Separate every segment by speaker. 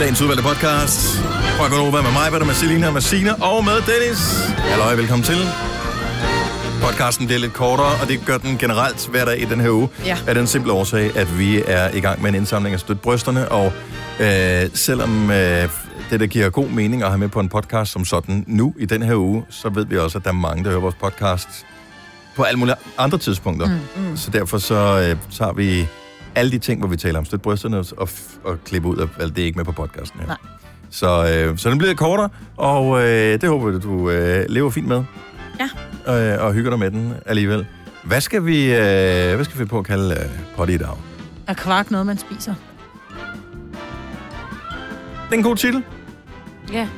Speaker 1: Dagens udvalgte podcast. Fra Gonova med mig, med Selina, med Sina og med Dennis. Halløj, velkommen til. Podcasten bliver lidt kortere, og det gør den generelt hver dag i den her uge.
Speaker 2: Ja.
Speaker 1: Af den simple årsag, at vi er i gang med en indsamling af støt brysterne, og øh, selvom øh, det, der giver god mening at have med på en podcast som sådan nu i den her uge, så ved vi også, at der er mange, der hører vores podcast på alle mulige andre tidspunkter. Mm, mm. Så derfor så øh, tager vi alle de ting, hvor vi taler om støt brysterne, og, f- og klippe ud af alt det er ikke med på podcasten her.
Speaker 2: Nej.
Speaker 1: Så, øh, så den bliver kortere, og øh, det håber jeg, du øh, lever fint med.
Speaker 2: Ja.
Speaker 1: Øh, og hygger dig med den alligevel. Hvad skal vi, øh, hvad skal vi finde på at kalde øh, potty i dag? Det
Speaker 2: Er kvark noget, man spiser?
Speaker 1: er en god titel.
Speaker 3: Ja.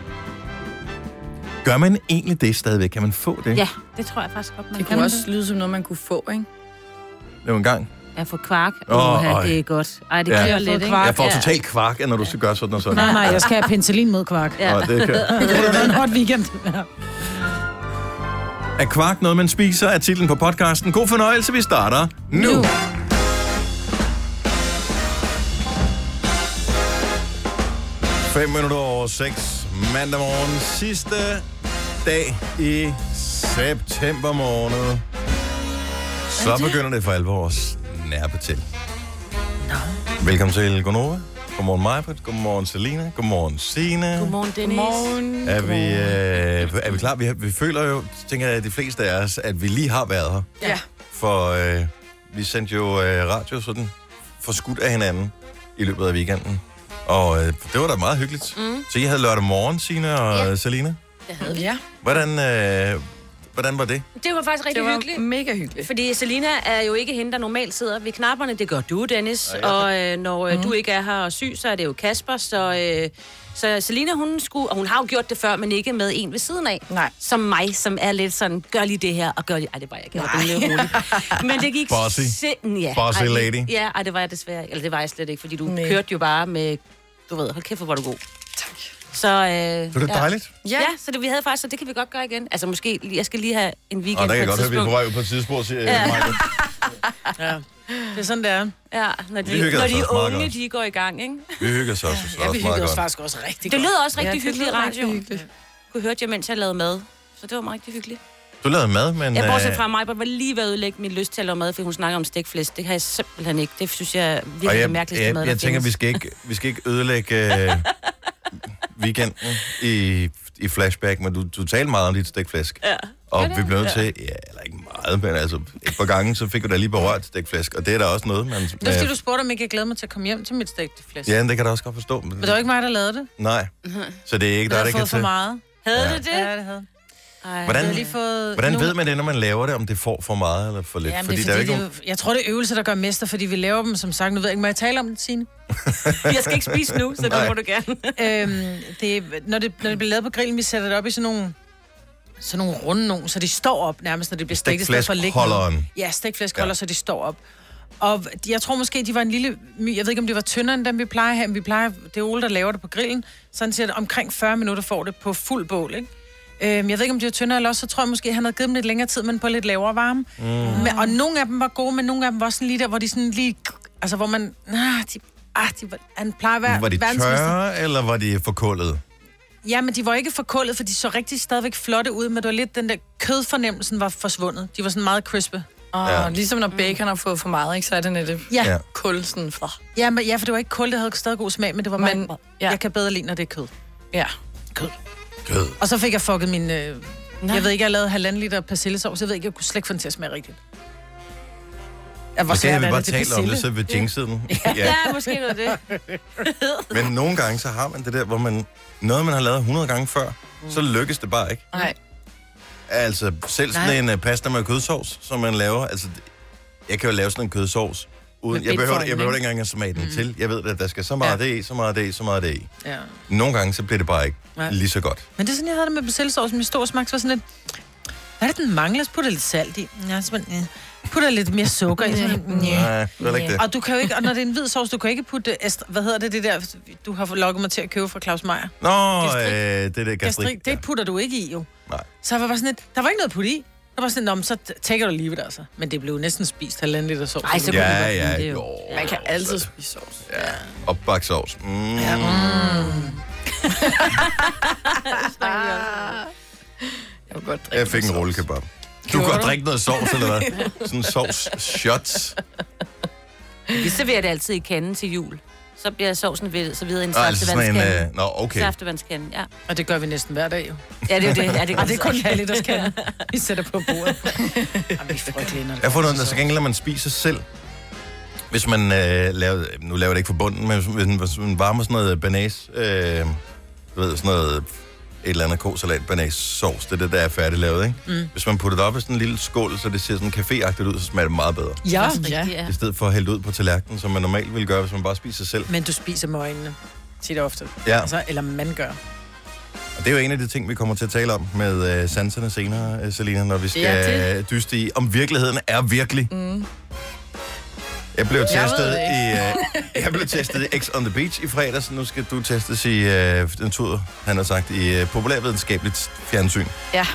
Speaker 1: Gør man egentlig det stadigvæk? Kan man få det?
Speaker 3: ja, det tror jeg faktisk godt, man
Speaker 4: Det
Speaker 3: kan.
Speaker 4: kunne også lyde som noget, man kunne få, ikke?
Speaker 1: Det var en gang.
Speaker 3: Ja, for kvark.
Speaker 1: Åh,
Speaker 3: Åh, oh,
Speaker 1: øj.
Speaker 3: det er godt. Ej, det
Speaker 1: Ja.
Speaker 3: klør
Speaker 1: Jeg
Speaker 3: ja.
Speaker 1: har
Speaker 3: lidt,
Speaker 2: fået
Speaker 3: ikke?
Speaker 2: kvark.
Speaker 1: Jeg får
Speaker 3: ja.
Speaker 1: totalt kvark, når du skal gøre sådan og sådan.
Speaker 2: Nej, nej, jeg skal have penicillin mod kvark.
Speaker 3: Ja.
Speaker 1: Og det kan...
Speaker 2: Det var en hot weekend.
Speaker 1: Er kvark noget, man spiser? Er titlen på podcasten. God fornøjelse, vi starter nu. nu.
Speaker 3: Nu.
Speaker 1: Fem minutter over seks mandag morgen. Sidste dag i september måned. Så begynder det for alvor at snærpe til. Velkommen til Gonova. Godmorgen Majbert. Godmorgen Selina. Godmorgen Sine.
Speaker 3: Godmorgen, Dennis.
Speaker 4: Morgen.
Speaker 1: Er vi, øh, er vi klar? Vi, har, vi føler jo, tænker jeg, de fleste af os, at vi lige har været her.
Speaker 4: Ja.
Speaker 1: For øh, vi sendte jo øh, radio sådan forskudt af hinanden i løbet af weekenden. Og øh, det var da meget hyggeligt. Mm. Så I havde lørdag morgen, Signe og ja. Selina.
Speaker 4: Ja,
Speaker 1: Hvordan, øh, hvordan var det?
Speaker 3: Det var faktisk rigtig
Speaker 4: det
Speaker 3: var... hyggeligt.
Speaker 4: var mega hyggeligt.
Speaker 3: Fordi Selina er jo ikke hende, der normalt sidder ved knapperne. Det gør du, Dennis. Og øh, når
Speaker 1: Mhm.
Speaker 3: øh, du ikke er her og syg, så er det jo Kasper. Så, øh, så Selina, hun skulle... Og hun har jo gjort det før, men ikke med en ved siden af.
Speaker 4: Nej.
Speaker 3: Som mig, som er lidt sådan, gør lige det her, og gør lige... Ej, det var jeg ikke. Jeg var lidt rolig. Men det gik...
Speaker 1: Bossy.
Speaker 3: sind- Ja.
Speaker 1: Bossy
Speaker 3: Ej,
Speaker 1: lady.
Speaker 3: Ja, ej, det var jeg desværre... ikke. Eller det var jeg slet ikke, fordi du
Speaker 4: Nej.
Speaker 3: kørte jo bare med... Du ved, hold kæft, hvor var du god.
Speaker 4: Tak.
Speaker 3: Så, øh,
Speaker 1: Var det dejligt?
Speaker 3: Ja. ja, så det, vi havde faktisk, så det kan vi godt gøre igen. Altså måske, lige- jeg skal lige have en weekend
Speaker 1: Og der
Speaker 3: på
Speaker 1: kan jeg
Speaker 3: et
Speaker 1: godt høre, at vi er på
Speaker 3: tidspunkt.
Speaker 1: vej ud på et tidsspor, siger ja.
Speaker 2: Det er sådan, det er.
Speaker 3: Ja, når de,
Speaker 1: Vi hyggede
Speaker 3: når
Speaker 1: os
Speaker 3: de
Speaker 1: altså også meget
Speaker 3: unge,
Speaker 1: godt.
Speaker 3: de går i gang, ikke?
Speaker 1: Vi hygger os også.
Speaker 4: Ja,
Speaker 1: Ja,
Speaker 4: vi
Speaker 1: også meget
Speaker 4: hyggede os
Speaker 1: godt.
Speaker 4: faktisk også rigtig
Speaker 3: Det
Speaker 4: godt.
Speaker 3: lød også rigtig
Speaker 4: det
Speaker 3: hyggeligt i
Speaker 4: lød rigtig
Speaker 3: radioen.
Speaker 4: hyggeligt.
Speaker 3: Kunne hørte jeg, mens jeg lavede mad. Så det var meget rigtig hyggeligt.
Speaker 1: Du lavede mad, men...
Speaker 3: Jeg bortset
Speaker 1: øh,
Speaker 3: fra mig, var lige ved at ødelægge min lyst til at lave mad, fordi hun snakker om stikflæsk. Det kan jeg simpelthen ikke. Det synes jeg er virkelig
Speaker 1: Og jeg,
Speaker 3: det mærkeligste
Speaker 1: jeg,
Speaker 3: mad,
Speaker 1: jeg,
Speaker 3: der
Speaker 1: jeg tænker, vi
Speaker 3: findes.
Speaker 1: skal ikke, vi skal ikke ødelægge øh, weekenden i, i flashback, men du, du talte meget om dit stikflæsk. Ja. Og vi blev nødt til, ja, eller ikke meget, men altså et par gange, så fik du da lige berørt stikflæsk, og det er da også noget, man... øh,
Speaker 2: Det er fordi, du spurgte, om ikke jeg glæder mig til at komme hjem til mit stegte flæsk.
Speaker 1: Ja, men det kan jeg da også godt forstå. Men,
Speaker 2: Men det var ikke mig, der lavede det.
Speaker 1: Nej, så det er ikke
Speaker 2: Jeg
Speaker 1: dig, der
Speaker 2: har
Speaker 1: kan
Speaker 2: fået for
Speaker 1: til.
Speaker 2: meget.
Speaker 3: Havde
Speaker 1: Ja.
Speaker 3: du det?
Speaker 2: Ja, det havde.
Speaker 3: Ej,
Speaker 1: Hvordan-
Speaker 2: Jeg har lige fået
Speaker 1: Hvordan
Speaker 2: nogle-
Speaker 1: ved man det, når man laver det, om det får for meget eller for lidt?
Speaker 2: Jamen, fordi det er, fordi,
Speaker 1: jo
Speaker 2: det er jo, jeg tror, det er øvelser, der gør mester, fordi vi laver dem, som sagt. Nu ved jeg ikke, må jeg tale om det, Signe?
Speaker 3: Jeg skal ikke spise nu, så det
Speaker 1: Nej.
Speaker 3: må du gerne.
Speaker 2: øhm, det, er- når, det, når det bliver lavet på grillen, vi sætter det op i sådan nogle, sådan nogle runde nogen, så de står op nærmest, når det bliver stegt. i stedet for at ligge ned.
Speaker 1: Stikflæskholderen.
Speaker 2: Ja, stikflæskholder,
Speaker 1: Ja.
Speaker 2: ja. så de står op. Og de- jeg tror måske, de var en lille... my- Jeg ved ikke, om det var tyndere end dem, vi plejer her, men vi plejer... Det er Ole, der laver det på grillen. Sådan siger det, omkring 40 minutter får det på fuld bål, ikke? Øhm, jeg ved ikke, om de var tyndere eller også, så tror jeg måske, han havde givet dem lidt længere tid, men på lidt lavere varme. Mm. Men, og nogle af dem var gode, men nogle af dem var sådan lige der, hvor de sådan lige... Altså, hvor man... Ah, de, ah, de, var- han plejer at være
Speaker 1: Var de
Speaker 2: verdensmester.
Speaker 1: tørre, eller var de forkullet?
Speaker 2: Ja, men de var ikke forkullet, for de så rigtig stadigvæk flotte ud, men det var lidt den der kødfornemmelsen var forsvundet. De var sådan meget crispe.
Speaker 4: Og
Speaker 1: Ja.
Speaker 4: ja. ligesom når bacon har fået for meget, ikke, så er det netop
Speaker 2: Ja.
Speaker 1: Ja.
Speaker 2: ja.
Speaker 4: kul sådan for.
Speaker 2: Ja, men, ja, for det var ikke kul, det havde stadig god smag, men det var
Speaker 4: Men-
Speaker 2: men,
Speaker 4: ja.
Speaker 2: ja. Jeg kan bedre lide, når det er kød.
Speaker 4: Ja.
Speaker 1: Kød.
Speaker 2: Og så fik jeg fucket min... Øh, jeg ved ikke, jeg lavede halvanden liter persillesovs. Jeg ved ikke, jeg kunne slet ikke få den til at smage rigtigt. Jeg var
Speaker 1: Og det har
Speaker 2: svært,
Speaker 1: vi
Speaker 2: er
Speaker 1: bare
Speaker 2: det til
Speaker 1: talt om altså.
Speaker 2: persille.
Speaker 1: det, så vi jinxede den. Ja.
Speaker 3: Ja, måske noget af det.
Speaker 1: Men nogle gange, så har man det der, hvor man noget, man har lavet 100 gange før, så lykkes det bare ikke.
Speaker 4: Nej.
Speaker 1: Altså, selv sådan en uh, pasta med kødsovs, som man laver, altså, jeg kan jo lave sådan en kødsovs, uden,
Speaker 2: Med
Speaker 1: jeg behøver, jeg
Speaker 2: bindformen,
Speaker 1: behøver
Speaker 2: ikke?
Speaker 1: ikke engang at smage den til. Jeg ved, at der skal så meget ja.
Speaker 2: Ja.
Speaker 1: det i, så meget det i, så meget det i.
Speaker 2: Ja.
Speaker 1: Nogle gange, så bliver det bare ikke
Speaker 2: Nej.
Speaker 1: lige så godt.
Speaker 2: Men det er sådan, jeg havde det med persillesovs, min store smag, så var sådan lidt... Hvad er det, den mangler? Så putter jeg lidt salt i. Ja, så man, øh. putter jeg lidt mere sukker i. Sådan, lidt, øh.
Speaker 1: Nej, det er heller ikke det.
Speaker 2: Og du kan jo ikke, og når det er en hvid sovs, du kan ikke putte, est- hvad hedder det, det der, du har lokket mig til at købe fra Claus Meier.
Speaker 1: Nå,
Speaker 2: Gastrik.
Speaker 1: øh, det der gastrik.
Speaker 2: Gastrik, det putter du ikke i jo.
Speaker 1: Nej.
Speaker 2: Så jeg var bare sådan lidt, der var ikke noget at putte i. var bare sådan, Nå, men så tækker du lige ved det, altså. Men det blev jo næsten spist halvanden liter sovs.
Speaker 1: Ej, så kunne Ja, det godt ja, blive det, jo. jo.
Speaker 4: Man kan altid spise sovs.
Speaker 1: Ja. Opbagt sovs. Mm. Ja,
Speaker 2: Mm.
Speaker 4: Jeg vil godt drikke
Speaker 1: Jeg fik en rullekebab. Du kan godt drikke noget sovs, eller hvad? Sådan sovs shots.
Speaker 3: Vi serverer det altid i kanden til jul. Så bliver sovsen ved, så videre i en
Speaker 1: Og altså sådan en...
Speaker 3: saftevandskande.
Speaker 1: Øh, nå, okay.
Speaker 3: Saftevandskanden, ja.
Speaker 2: Og det gør vi næsten hver dag, jo.
Speaker 3: Ja, det er jo det. Ja, det,
Speaker 2: Og det er kun halv liters kan. Vi sætter på bordet. Jamen, vi er frygtelige, når det
Speaker 1: Jeg har fundet
Speaker 2: kommer
Speaker 1: ud af,
Speaker 2: til
Speaker 1: så gengæld, at man spiser selv. Hvis man øh, laver, nu laver jeg det ikke for bunden, men hvis- hvis man, hvis man varmer sådan noget banæs, øh, du ved, sådan noget, et eller andet kosalat, banæs, sovs, det er det, der er færdiglavet, ikke? Mm. Hvis man putter det op i sådan en lille skål, så det ser sådan caféagtigt ud, så smager det meget bedre.
Speaker 2: sovs. Ja, ja.
Speaker 1: I stedet for at hælde det ud på tallerkenen, som man normalt ville gøre, hvis man bare spiser selv.
Speaker 2: Men du spiser med øjnene. Tit og ofte.
Speaker 1: Ja.
Speaker 2: Altså, eller man gør.
Speaker 1: Og det er jo en af de ting, vi kommer til at tale om med øh, sanserne senere, øh, Selina, når vi skal øh, dyste i, om virkeligheden er virkelig.
Speaker 4: Mm.
Speaker 1: Jeg blev
Speaker 4: Jeg ved
Speaker 1: testet
Speaker 4: det
Speaker 1: i,
Speaker 4: ikke.
Speaker 1: øh, jeg blev testet i X on the Beach i fredags. Nu skal du testes i øh, den tur, han har sagt, i øh, populærvidenskabeligt fjernsyn.
Speaker 4: Ja.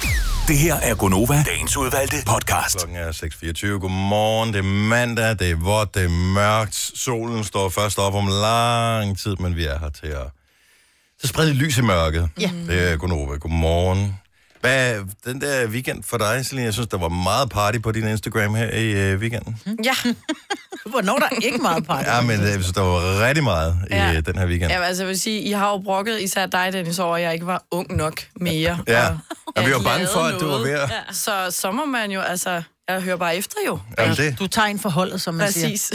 Speaker 1: Det her er Gonova, dagens udvalgte podcast. Klokken er 6.24. Godmorgen, det er mandag, det er vådt, det er mørkt. Solen står først op om lang tid, men vi er her til at... Så sprede lidt lys i mørket.
Speaker 2: Ja.
Speaker 1: Det er Gonova. Godmorgen. Hvad er den der weekend for dig, Selina? Jeg synes, der var meget party på din Instagram her i øh, weekenden.
Speaker 4: Ja.
Speaker 2: Hvornår er der ikke meget party?
Speaker 1: Ja, men øh, jeg synes, der var rigtig meget i
Speaker 4: Ja.
Speaker 1: ja. den her weekend.
Speaker 4: Ja, altså jeg vil sige, I har jo brokket, især dig, Dennis, over, at jeg ikke var ung nok mere.
Speaker 1: Ja,
Speaker 4: Og
Speaker 1: og vi var
Speaker 4: jeg
Speaker 1: bange
Speaker 4: lavede
Speaker 1: for, at du var
Speaker 4: noget.
Speaker 1: ved at...
Speaker 4: Ja. Så, så må man jo, altså, jeg hører bare efter jo.
Speaker 1: Jamen det.
Speaker 2: Du tager en forholdet, som man siger.
Speaker 4: Præcis.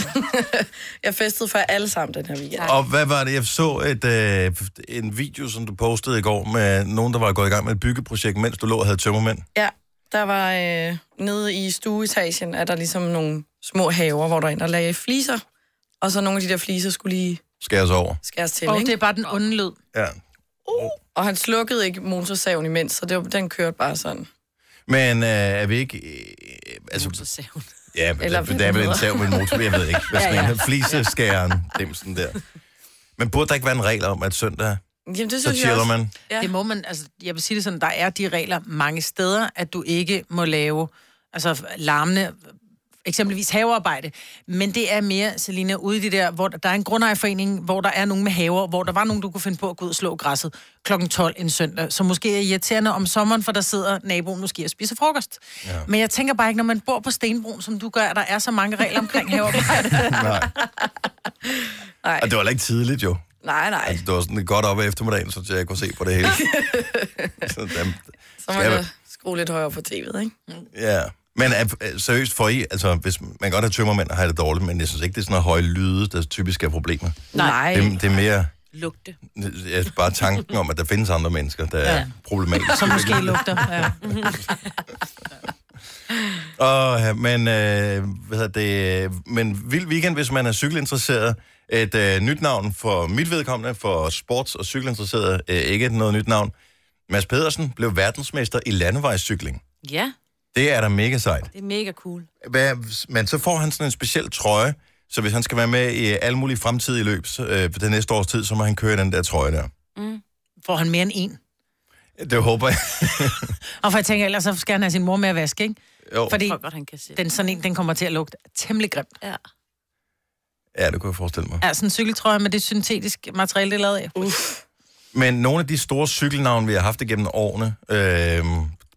Speaker 4: jeg festede for jer alle sammen den her weekend.
Speaker 1: Og hvad var det? Jeg så et, øh, en video, som du postede i går med nogen, der var gået i gang med et byggeprojekt, mens du lå og havde tømmermænd.
Speaker 4: Ja, der var øh, nede i stueetagen, er der ligesom nogle små haver, hvor der er en, der lagde fliser. Og så nogle af de der fliser skulle lige
Speaker 1: Skærer sig over.
Speaker 4: skæres til,
Speaker 2: Og
Speaker 4: ikke?
Speaker 2: det er bare den onde lyd.
Speaker 1: Ja.
Speaker 4: Og han slukkede ikke motorsaven imens, så det var, den kørte bare sådan.
Speaker 1: Men øh, er vi ikke... Øh, altså,
Speaker 3: Motorsaven.
Speaker 1: Ja, men
Speaker 4: Eller
Speaker 1: Eller det er vel en sav med en motor, jeg ved ikke. Hvad sådan
Speaker 4: Ja, ja.
Speaker 1: en fliseskæren, dem sådan der. Men burde der ikke være en regel om, at søndag,
Speaker 4: Jamen,
Speaker 1: så chiller man?
Speaker 2: Ja. Det må man, altså, jeg vil sige det sådan, der er de regler mange steder, at du ikke må lave altså, larmende, eksempelvis havearbejde. Men det er mere, Selina, ude i det der, hvor der der er en grundejerforening, hvor der er nogen med haver, hvor der var nogen, du kunne finde på at gå ud og slå græsset kl. 12 en søndag, som måske er irriterende om sommeren, for der sidder naboen måske og spiser frokost. Ja. Men jeg tænker bare ikke, når man bor på Stenbroen, som du gør, at der er så mange regler omkring havearbejde.
Speaker 1: Nej.
Speaker 4: Nej.
Speaker 1: Og det var heller ikke tidligt, jo.
Speaker 4: Nej, nej.
Speaker 1: Altså, det var sådan godt op af eftermiddagen, så jeg kunne se på det hele. så, dem,
Speaker 4: Så må
Speaker 1: Skal
Speaker 4: jeg
Speaker 1: jeg-
Speaker 4: skrue lidt højere på tv'et, ikke?
Speaker 1: ja. Men er, er- seriøst, for I, altså, hvis man kan godt har tømmermænd og har det dårligt, men jeg synes ikke, det er sådan noget høje lyde, der typisk er problemer.
Speaker 4: Nej.
Speaker 1: Det, det er mere
Speaker 3: Lugte.
Speaker 1: ja, bare tanken om, at der findes andre mennesker, der ja. er
Speaker 2: Ja.
Speaker 1: problematiske.
Speaker 2: Som måske lugter. Ja.
Speaker 1: Og, ja, men, øh, hvad hedder det, øh, men vild weekend, hvis man er cykelinteresseret. Et øh, nyt navn for mit vedkommende, for sports- og cykelinteresseret, øh, ikke et noget nyt navn. Mads Pedersen blev verdensmester i landevejscykling.
Speaker 3: Ja,
Speaker 1: Det er da mega sejt.
Speaker 3: det er mega cool.
Speaker 1: Hvad, men så får han sådan en speciel trøje, så hvis han skal være med i alle mulige fremtidige løb så, øh, det næste års tid, så må han køre i den der trøje der.
Speaker 2: Får han mere end en?
Speaker 1: Det håber jeg.
Speaker 2: Og for jeg tænker, ellers så skal han have sin mor med at vaske, ikke?
Speaker 1: Jo.
Speaker 2: Fordi
Speaker 3: Jeg tror godt, han kan se.
Speaker 2: den, sådan en, den kommer til at lugte temmelig grimt.
Speaker 3: Ja.
Speaker 1: Ja, det kunne jeg forestille mig.
Speaker 2: Ja, sådan en cykeltrøje med det syntetisk materiale, det er lavet af.
Speaker 4: Uff.
Speaker 1: Men nogle af de store cykelnavne, vi har haft igennem årene, øh,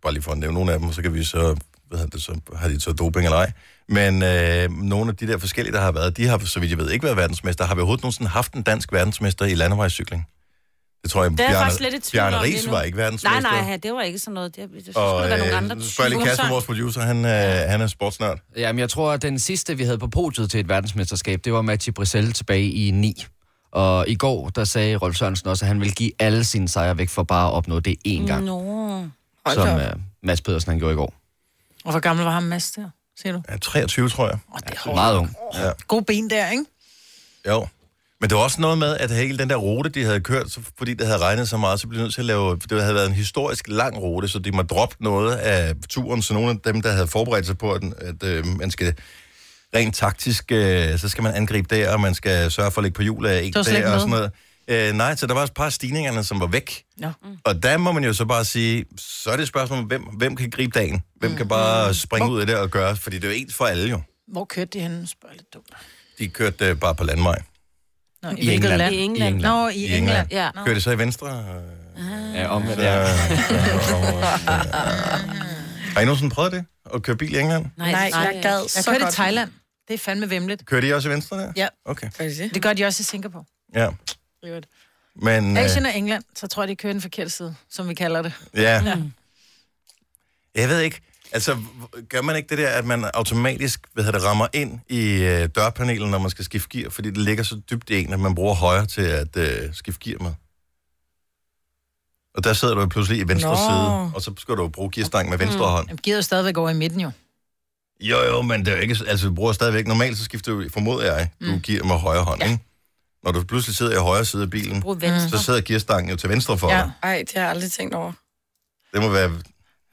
Speaker 1: bare lige for at nævne nogle af dem, så kan vi så, hvad hedder det, så har de så doping eller ej. Men øh, nogle af de der forskellige, der har været, de har, så vidt jeg ved, ikke været verdensmester. Har vi overhovedet nogensinde haft en dansk verdensmester i landevejscykling? Det tror jeg,
Speaker 3: Det er jeg faktisk lidt i tvivl
Speaker 1: Bjarne
Speaker 3: om lige
Speaker 1: Ries
Speaker 3: nu.
Speaker 1: var ikke verdensmester.
Speaker 3: Nej, nej, ja, det var ikke sådan noget. Det, det, det
Speaker 1: Og
Speaker 3: skulle der nogle andre
Speaker 1: øh, spørg lige Kasper, vores producer, han, øh, han er sportsnørd.
Speaker 5: Jamen, jeg tror, at den sidste, vi havde på podiet til et verdensmesterskab, det var Mathieu Brissel tilbage i 9. Og i går, der sagde Rolf Sørensen også, at han ville give alle sine sejre væk for bare at opnå det én gang,
Speaker 3: Nå.
Speaker 4: Hold
Speaker 5: som
Speaker 4: da op.
Speaker 5: uh, Mads Pedersen han gjorde i går.
Speaker 2: Og hvor gammel var ham Mads der, siger du?
Speaker 1: Ja, 23, tror jeg.
Speaker 2: Åh, det er hårdt.
Speaker 5: Meget ung.
Speaker 2: God ben der, ikke?
Speaker 1: Jo. Men det var også noget med, at hele den der rute, de havde kørt, så fordi det havde regnet så meget, så blev de nødt til at lave... for Det havde været en historisk lang rute, så de må droppe noget af turen, så nogle af dem, der havde forberedt sig på, at, at øh, man skal rent taktisk, øh, så skal man angribe der, og man skal sørge for at ligge på hjul af en
Speaker 2: var slet
Speaker 1: der,
Speaker 2: ikke
Speaker 1: og
Speaker 2: med.
Speaker 1: sådan noget. Øh, nej, så der var også et par af stigningerne, som var væk.
Speaker 2: Nå.
Speaker 1: Og der må man jo så bare sige, så er det et spørgsmål, om, hvem, hvem kan gribe dagen? Hvem
Speaker 2: Mm.
Speaker 1: kan bare springe ud af det og gøre? Fordi det er jo ens for alle jo.
Speaker 2: Hvor kørte de henne? Spørg lidt dumt.
Speaker 1: De kørte øh, bare på landvej.
Speaker 2: Nå, I,
Speaker 5: I
Speaker 2: hvilket
Speaker 5: England.
Speaker 2: land?
Speaker 3: I England.
Speaker 5: England.
Speaker 2: Nå, i,
Speaker 1: I
Speaker 2: I
Speaker 1: England.
Speaker 2: England.
Speaker 3: Ja.
Speaker 1: Kørte de så i venstre? Øh,
Speaker 5: Ja, om,
Speaker 1: Så,
Speaker 5: ja.
Speaker 1: Har I nogensinde prøvet det? At køre bil i England?
Speaker 4: Nej, jeg gad
Speaker 2: Jeg
Speaker 4: så
Speaker 2: kørte i
Speaker 4: godt.
Speaker 2: Thailand. Det er fandme vemmeligt.
Speaker 1: Kører de også i venstre der?
Speaker 2: Ja.
Speaker 1: Okay,
Speaker 4: Gør de det?
Speaker 2: Det gør de også i Singapore.
Speaker 1: ja. Men, øh,
Speaker 2: Asien og England, så tror jeg, de kører den forkerte side, som vi kalder det.
Speaker 1: ja. Jeg ved ikke. Altså, h- gør man ikke det der, at man automatisk hvad hedder det, rammer ind i øh, dørpanelen, når man skal skifte gear, fordi det ligger så dybt i en, at man bruger højre til at øh, skifte gear med? Og der sidder du jo pludselig i venstre
Speaker 4: Nå.
Speaker 1: side, og så skal du jo bruge gearstangen med venstre hånd.
Speaker 2: Jamen, gider jo stadigvæk over i midten jo.
Speaker 1: Jo, jo, men det er jo ikke... Altså, vi bruger stadigvæk... Normalt så skifter du, formoder jeg, du giver med højre hånd, ja. ikke? Når du pludselig sidder i højre side af bilen,
Speaker 3: Brug venstre.
Speaker 1: så sidder gearstangen jo til venstre for ja.
Speaker 2: Ja.
Speaker 1: dig.
Speaker 4: Ej, det har jeg aldrig tænkt over.
Speaker 1: Det må være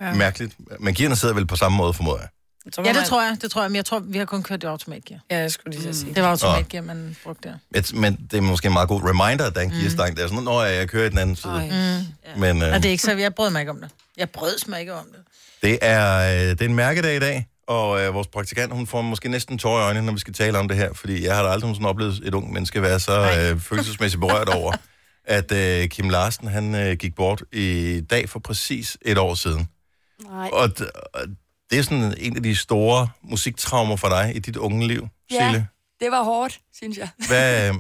Speaker 1: ja. mærkeligt. Men gearne sidder vel på samme måde, formoder jeg.
Speaker 4: Så må
Speaker 2: Ja, det
Speaker 4: man-
Speaker 2: tror jeg. Det tror jeg, men jeg tror, vi har kun kørt det automatgear.
Speaker 4: Ja, jeg skulle lige til at sige.
Speaker 2: Det var automatgear, man brugte der.
Speaker 1: Et, men det er måske en meget god reminder, at der er en gearstang. Det er sådan, når jeg, jeg kører i den anden side.
Speaker 3: Ej.
Speaker 4: Mm.
Speaker 1: Men øh,
Speaker 2: Og det
Speaker 1: det...
Speaker 2: er ikke så, jeg brød mig ikke om det. Jeg brød mig ikke om det.
Speaker 1: Det, er, øh, det er en mærkedag i dag, og øh, vores praktikant, hun får måske næsten tårer i øjnene, når vi skal tale om det her, fordi jeg har da aldrig nogensinde oplevet et ung menneske være så øh, følelsesmæssigt berørt over, at øh, Kim Larsen, han øh, gik bort i dag for præcis et år siden.
Speaker 3: Nej.
Speaker 1: Og, d- og det er sådan en af de store musiktraumer for dig i dit unge liv,
Speaker 6: Ja.
Speaker 1: Sille.
Speaker 6: Det var hårdt, synes jeg.
Speaker 1: Hvad, øh,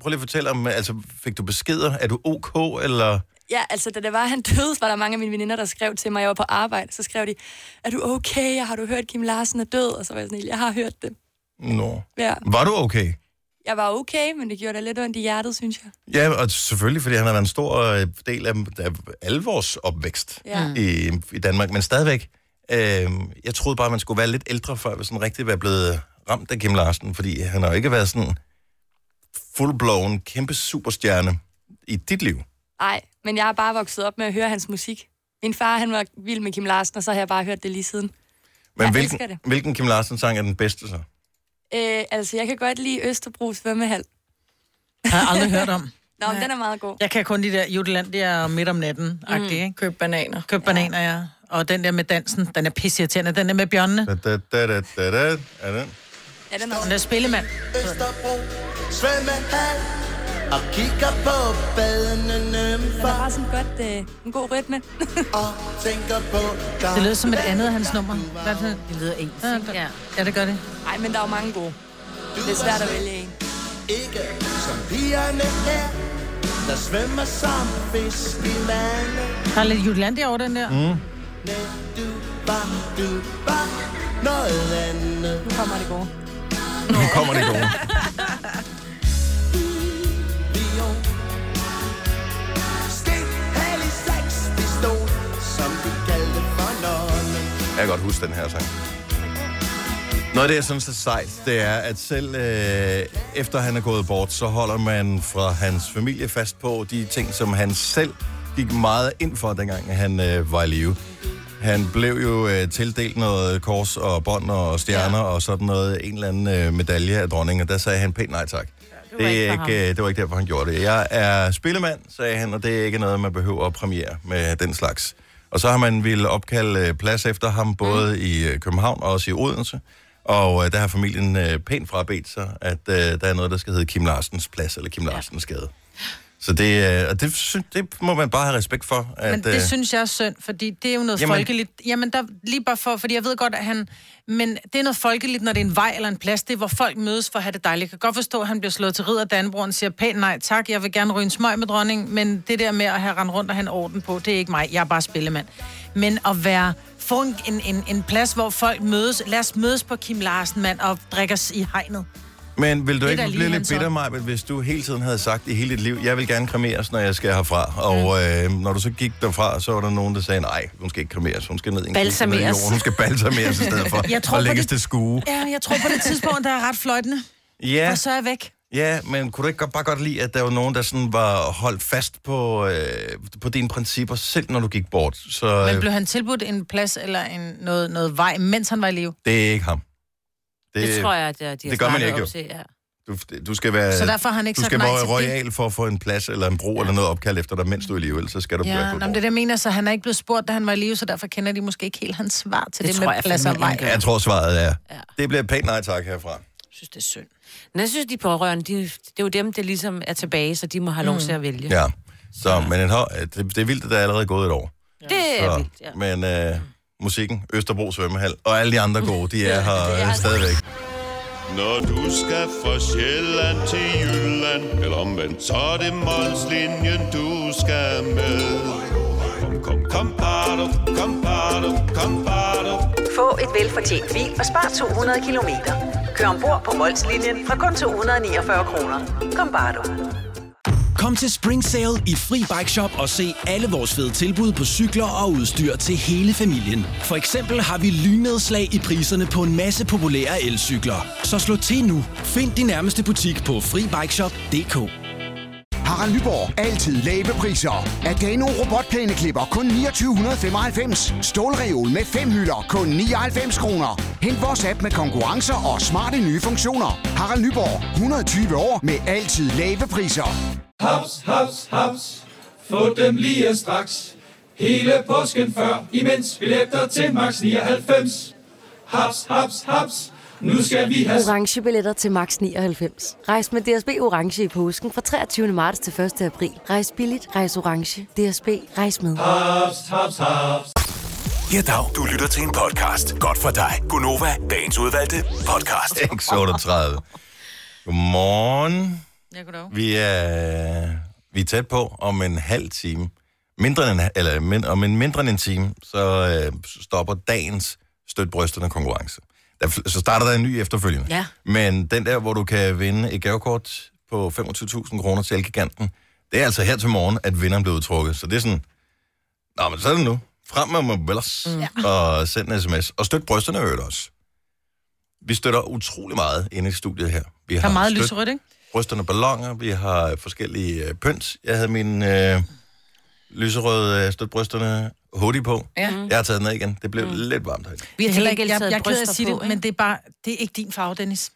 Speaker 1: prøv lige at fortælle om, altså fik du beskeder? Er du ok, eller...
Speaker 6: Ja, altså da det var, han døde, var der mange af mine veninder, der skrev til mig, jeg var på arbejde, så skrev de, er du okay, og har du hørt, Kim Larsen er død? Og så var jeg sådan, helt, jeg har hørt det.
Speaker 1: Nå.
Speaker 6: Ja.
Speaker 1: Var du okay?
Speaker 6: Jeg var okay, men det gjorde da lidt ondt i hjertet, synes jeg.
Speaker 1: Ja, og selvfølgelig, fordi han har været en stor øh, del af, af alle vores opvækst
Speaker 6: Ja.
Speaker 1: mm. i, i Danmark, men stadigvæk, øh, jeg troede bare, man skulle være lidt ældre, før vi sådan rigtig var blevet ramt af Kim Larsen, fordi han har jo ikke været sådan full-blown, kæmpe superstjerne i dit liv.
Speaker 6: Nej, men jeg har bare vokset op med at høre hans musik. Min far, han var vild med Kim Larsen, og så har jeg bare hørt det lige siden.
Speaker 1: Men
Speaker 6: Jeg
Speaker 1: hvilken,
Speaker 6: elsker det.
Speaker 1: hvilken Kim Larsen-sang er den bedste så?
Speaker 6: Øh, altså, jeg kan godt lide Østerbro svømmehal.
Speaker 2: Jeg har aldrig hørt om.
Speaker 6: Nå, men den er meget god.
Speaker 2: Jeg kan kun de der Jutland, det er midt om natten mm. ikke?
Speaker 4: Køb bananer.
Speaker 2: Køb bananer, ja. Og den der med dansen, den er pissirriterende. Den der med bjørnene.
Speaker 1: Da, da, da, da, da, da. Er den?
Speaker 6: Ja, den er
Speaker 2: Den der spillemand.
Speaker 7: Vesterbro svømmehal og kigger på badende
Speaker 6: Der
Speaker 7: nymfer
Speaker 6: er bare sådan godt, øh, en god rytme.
Speaker 7: og tænker på dig.
Speaker 2: Det lød som et andet af hans nummer. Hvad er det? Det lyder ens. Ja,
Speaker 3: Ja.
Speaker 2: ja, det gør det.
Speaker 6: Nej, men der er jo mange gode. Det er svært at vælge en.
Speaker 7: Ikke som pigerne her, der svømmer som fisk i vandet.
Speaker 2: Der er lidt Jutland over den der. Mm.
Speaker 7: Næ, du var, du var noget andet.
Speaker 6: Nu kommer det gode.
Speaker 1: Nu kommer det gode.
Speaker 7: Lyon. Stik hal i seks pistol, som de kaldte for nonne.
Speaker 1: Jeg kan godt huske den her sang. Noget af det, jeg synes er sejt, det er, at selv øh, efter han er gået bort, så holder man fra hans familie fast på de ting, som han selv gik meget ind for, dengang han øh, var i live. Han blev jo øh, tildelt noget kors og bånd og stjerner ja. og sådan noget, en eller anden øh, medalje af dronningen, og der sagde han pænt nej tak. Ja, det,
Speaker 3: ikke
Speaker 1: er
Speaker 3: for
Speaker 1: ikke, øh, det var ikke derfor, han gjorde det. Jeg er spillemand, sagde han, og det er ikke noget, man behøver at premiere med den slags. Og så har man ville opkalde øh, plads efter ham, både mm. i øh, København og også i Odense. Og øh, der har familien øh, pænt frabedt sig, at øh, der er noget, der skal hedde Kim Larsens Plads eller Kim Larsens Gade. Så det, øh, og det, sy- det må man bare have respekt for. At,
Speaker 2: Men det
Speaker 1: øh,
Speaker 2: synes jeg er synd, fordi det er jo noget
Speaker 1: Jamen-
Speaker 2: jamen, folkeligt. Jamen, der, lige bare for, fordi jeg ved godt, at han... Men det er noget folkeligt, når det er en vej eller en plads. Det er, hvor folk mødes for at have det dejligt. Jeg kan godt forstå, at han bliver slået til ridder Danbroen og siger pænt nej tak, jeg vil gerne ryge en smøg med dronningen, men det der med at have rendt rundt og have en orden på, det er ikke mig. Jeg er bare spillemand. Men at være få en, en, en, en plads, hvor folk mødes. Lad os mødes på Kim Larsen, mand, og drikkes i hegnet.
Speaker 1: Men vil du
Speaker 2: Det er
Speaker 1: ikke
Speaker 2: da lige
Speaker 1: blive lidt
Speaker 2: hans
Speaker 1: bitter, Maja, hvis du hele tiden havde sagt i hele dit liv, jeg vil gerne kremeres, når jeg skal herfra, og øh,
Speaker 2: Mm.
Speaker 1: når du så gik derfra, så var der nogen, der sagde, nej, hun skal ikke kremeres, hun skal ned i en kiste ned i
Speaker 3: Balsameres.
Speaker 1: jorden, hun skal balsameres i stedet for,
Speaker 2: Jeg tror
Speaker 1: og
Speaker 2: på
Speaker 1: lægges
Speaker 2: det-
Speaker 1: til skue.
Speaker 2: Ja, jeg tror på det tidspunkt, der er ret fløjtende.
Speaker 1: Ja,
Speaker 2: Og så er jeg væk.
Speaker 1: ja, men kunne du ikke godt, bare godt lide, at der var nogen, der sådan var holdt fast på, øh, på dine principper, selv når du gik bort? Så
Speaker 2: Men
Speaker 1: øh,
Speaker 2: blev han tilbudt en plads eller en, noget, noget vej, mens han var i live?
Speaker 1: det er ikke ham.
Speaker 3: Det tror jeg, at de har
Speaker 1: det gør man
Speaker 3: snakket
Speaker 1: ikke,
Speaker 3: op
Speaker 1: jo.
Speaker 3: Til, ja.
Speaker 1: Du, du skal være,
Speaker 2: Så derfor har han ikke
Speaker 1: Øh, du
Speaker 2: sagt
Speaker 1: skal
Speaker 2: nej
Speaker 1: være
Speaker 2: til det?
Speaker 1: royal for at få en plads eller en bro ja. eller noget opkald efter dig, mens du er i live, ellers så skal du ja,
Speaker 2: Ja,
Speaker 1: være
Speaker 2: nå,
Speaker 1: på
Speaker 2: men det er
Speaker 1: bro.
Speaker 2: det, jeg mener, så han er ikke blevet spurgt, da han var i live, så derfor kender de måske ikke helt hans svar til det,
Speaker 3: Det
Speaker 2: det
Speaker 3: tror
Speaker 2: med
Speaker 3: jeg
Speaker 2: plads og
Speaker 3: fandme
Speaker 2: vej.
Speaker 3: ikke, han
Speaker 2: Jeg
Speaker 1: Jeg tror, svaret er, ja. det bliver et pænt nej tak herfra.
Speaker 2: synes, det er synd.
Speaker 3: Men jeg synes, de pårørende, de, det er jo dem, der ligesom er tilbage, så de må
Speaker 4: Mm.
Speaker 3: have lov til at vælge.
Speaker 1: Ja. Så, men en, hår- det, det er vildt, at der er allerede gået et år.
Speaker 3: Det er
Speaker 1: Så,
Speaker 3: vildt, ja.
Speaker 1: Men øh, musikken, Østerbro Svømmehal og alle de andre gode, de er her øh, stadigvæk.
Speaker 8: Når du skal fra Sjælland til Jylland Eller omvendt, så er det Molslinjen, du skal med Kom, kom, kom, bado, kom, bado, kom, bado.
Speaker 9: Få et velfortjent bil og spar 200 kilometer. Kør ombord på Molslinjen fra kun 249 kroner. Kom bare du.
Speaker 10: Kom til Spring Sale i Fri Bike Shop og se alle vores fede tilbud på cykler og udstyr til hele familien. For eksempel har vi lynedslag i priserne på en masse populære elcykler. Så slå til nu. Find din nærmeste butik på FriBikeShop.dk
Speaker 11: Harald Nyborg. Altid lave priser. Adano robotplæneklipper kun 2995. Stålreol med fem hylder kun 99 kroner. Hent vores app med konkurrencer og smarte nye funktioner. Harald Nyborg. 120 år med altid lave priser.
Speaker 12: Haps, haps, haps. Få dem lige straks. Hele påsken før, imens billetter til max 99. Haps, haps, haps. Nu skal vi have...
Speaker 13: orange billetter til max 99. Rejs med DSB orange i påsken fra 23. marts til 1. april. Rejs billigt, rejs orange. DSB rejs med.
Speaker 12: Haps, haps, haps.
Speaker 14: Ja, dag. Du lytter til en podcast. Godt for dig. Gunova, dagens udvalgte podcast.
Speaker 1: 638. Godmorgen.
Speaker 2: Ja, goddag.
Speaker 1: Vi er, vi er tæt på om en halv time. Mindre end, en- eller min, om en mindre end en time, så øh, stopper dagens støt brysterne konkurrence. Der, fl- så starter der en ny efterfølgende.
Speaker 3: Ja.
Speaker 1: Men den der, hvor du kan vinde et gavekort på 25.000 kroner til Elgiganten, det er altså her til morgen, at vinderen bliver udtrukket. Så det er sådan, nå, men så er det nu. Frem med mobiles mm. og send en sms. Og støt brysterne øvrigt også. Vi støtter utrolig meget inde i studiet her. Vi
Speaker 2: Der er meget
Speaker 1: støt-
Speaker 2: lyserødt, ikke?
Speaker 1: brysterne ballonger, vi har forskellige øh, pynt. Jeg havde min øh, lyserøde øh, støt brysterne hoodie på.
Speaker 2: Ja. Mm.
Speaker 1: Jeg har taget den af igen. Det blev mm. lidt varmt herinde.
Speaker 2: Vi har heller ikke, jeg, jeg, jeg er ked af
Speaker 3: bryster
Speaker 2: at sige
Speaker 3: på,
Speaker 2: det, men det er bare, det er ikke din farve, Dennis.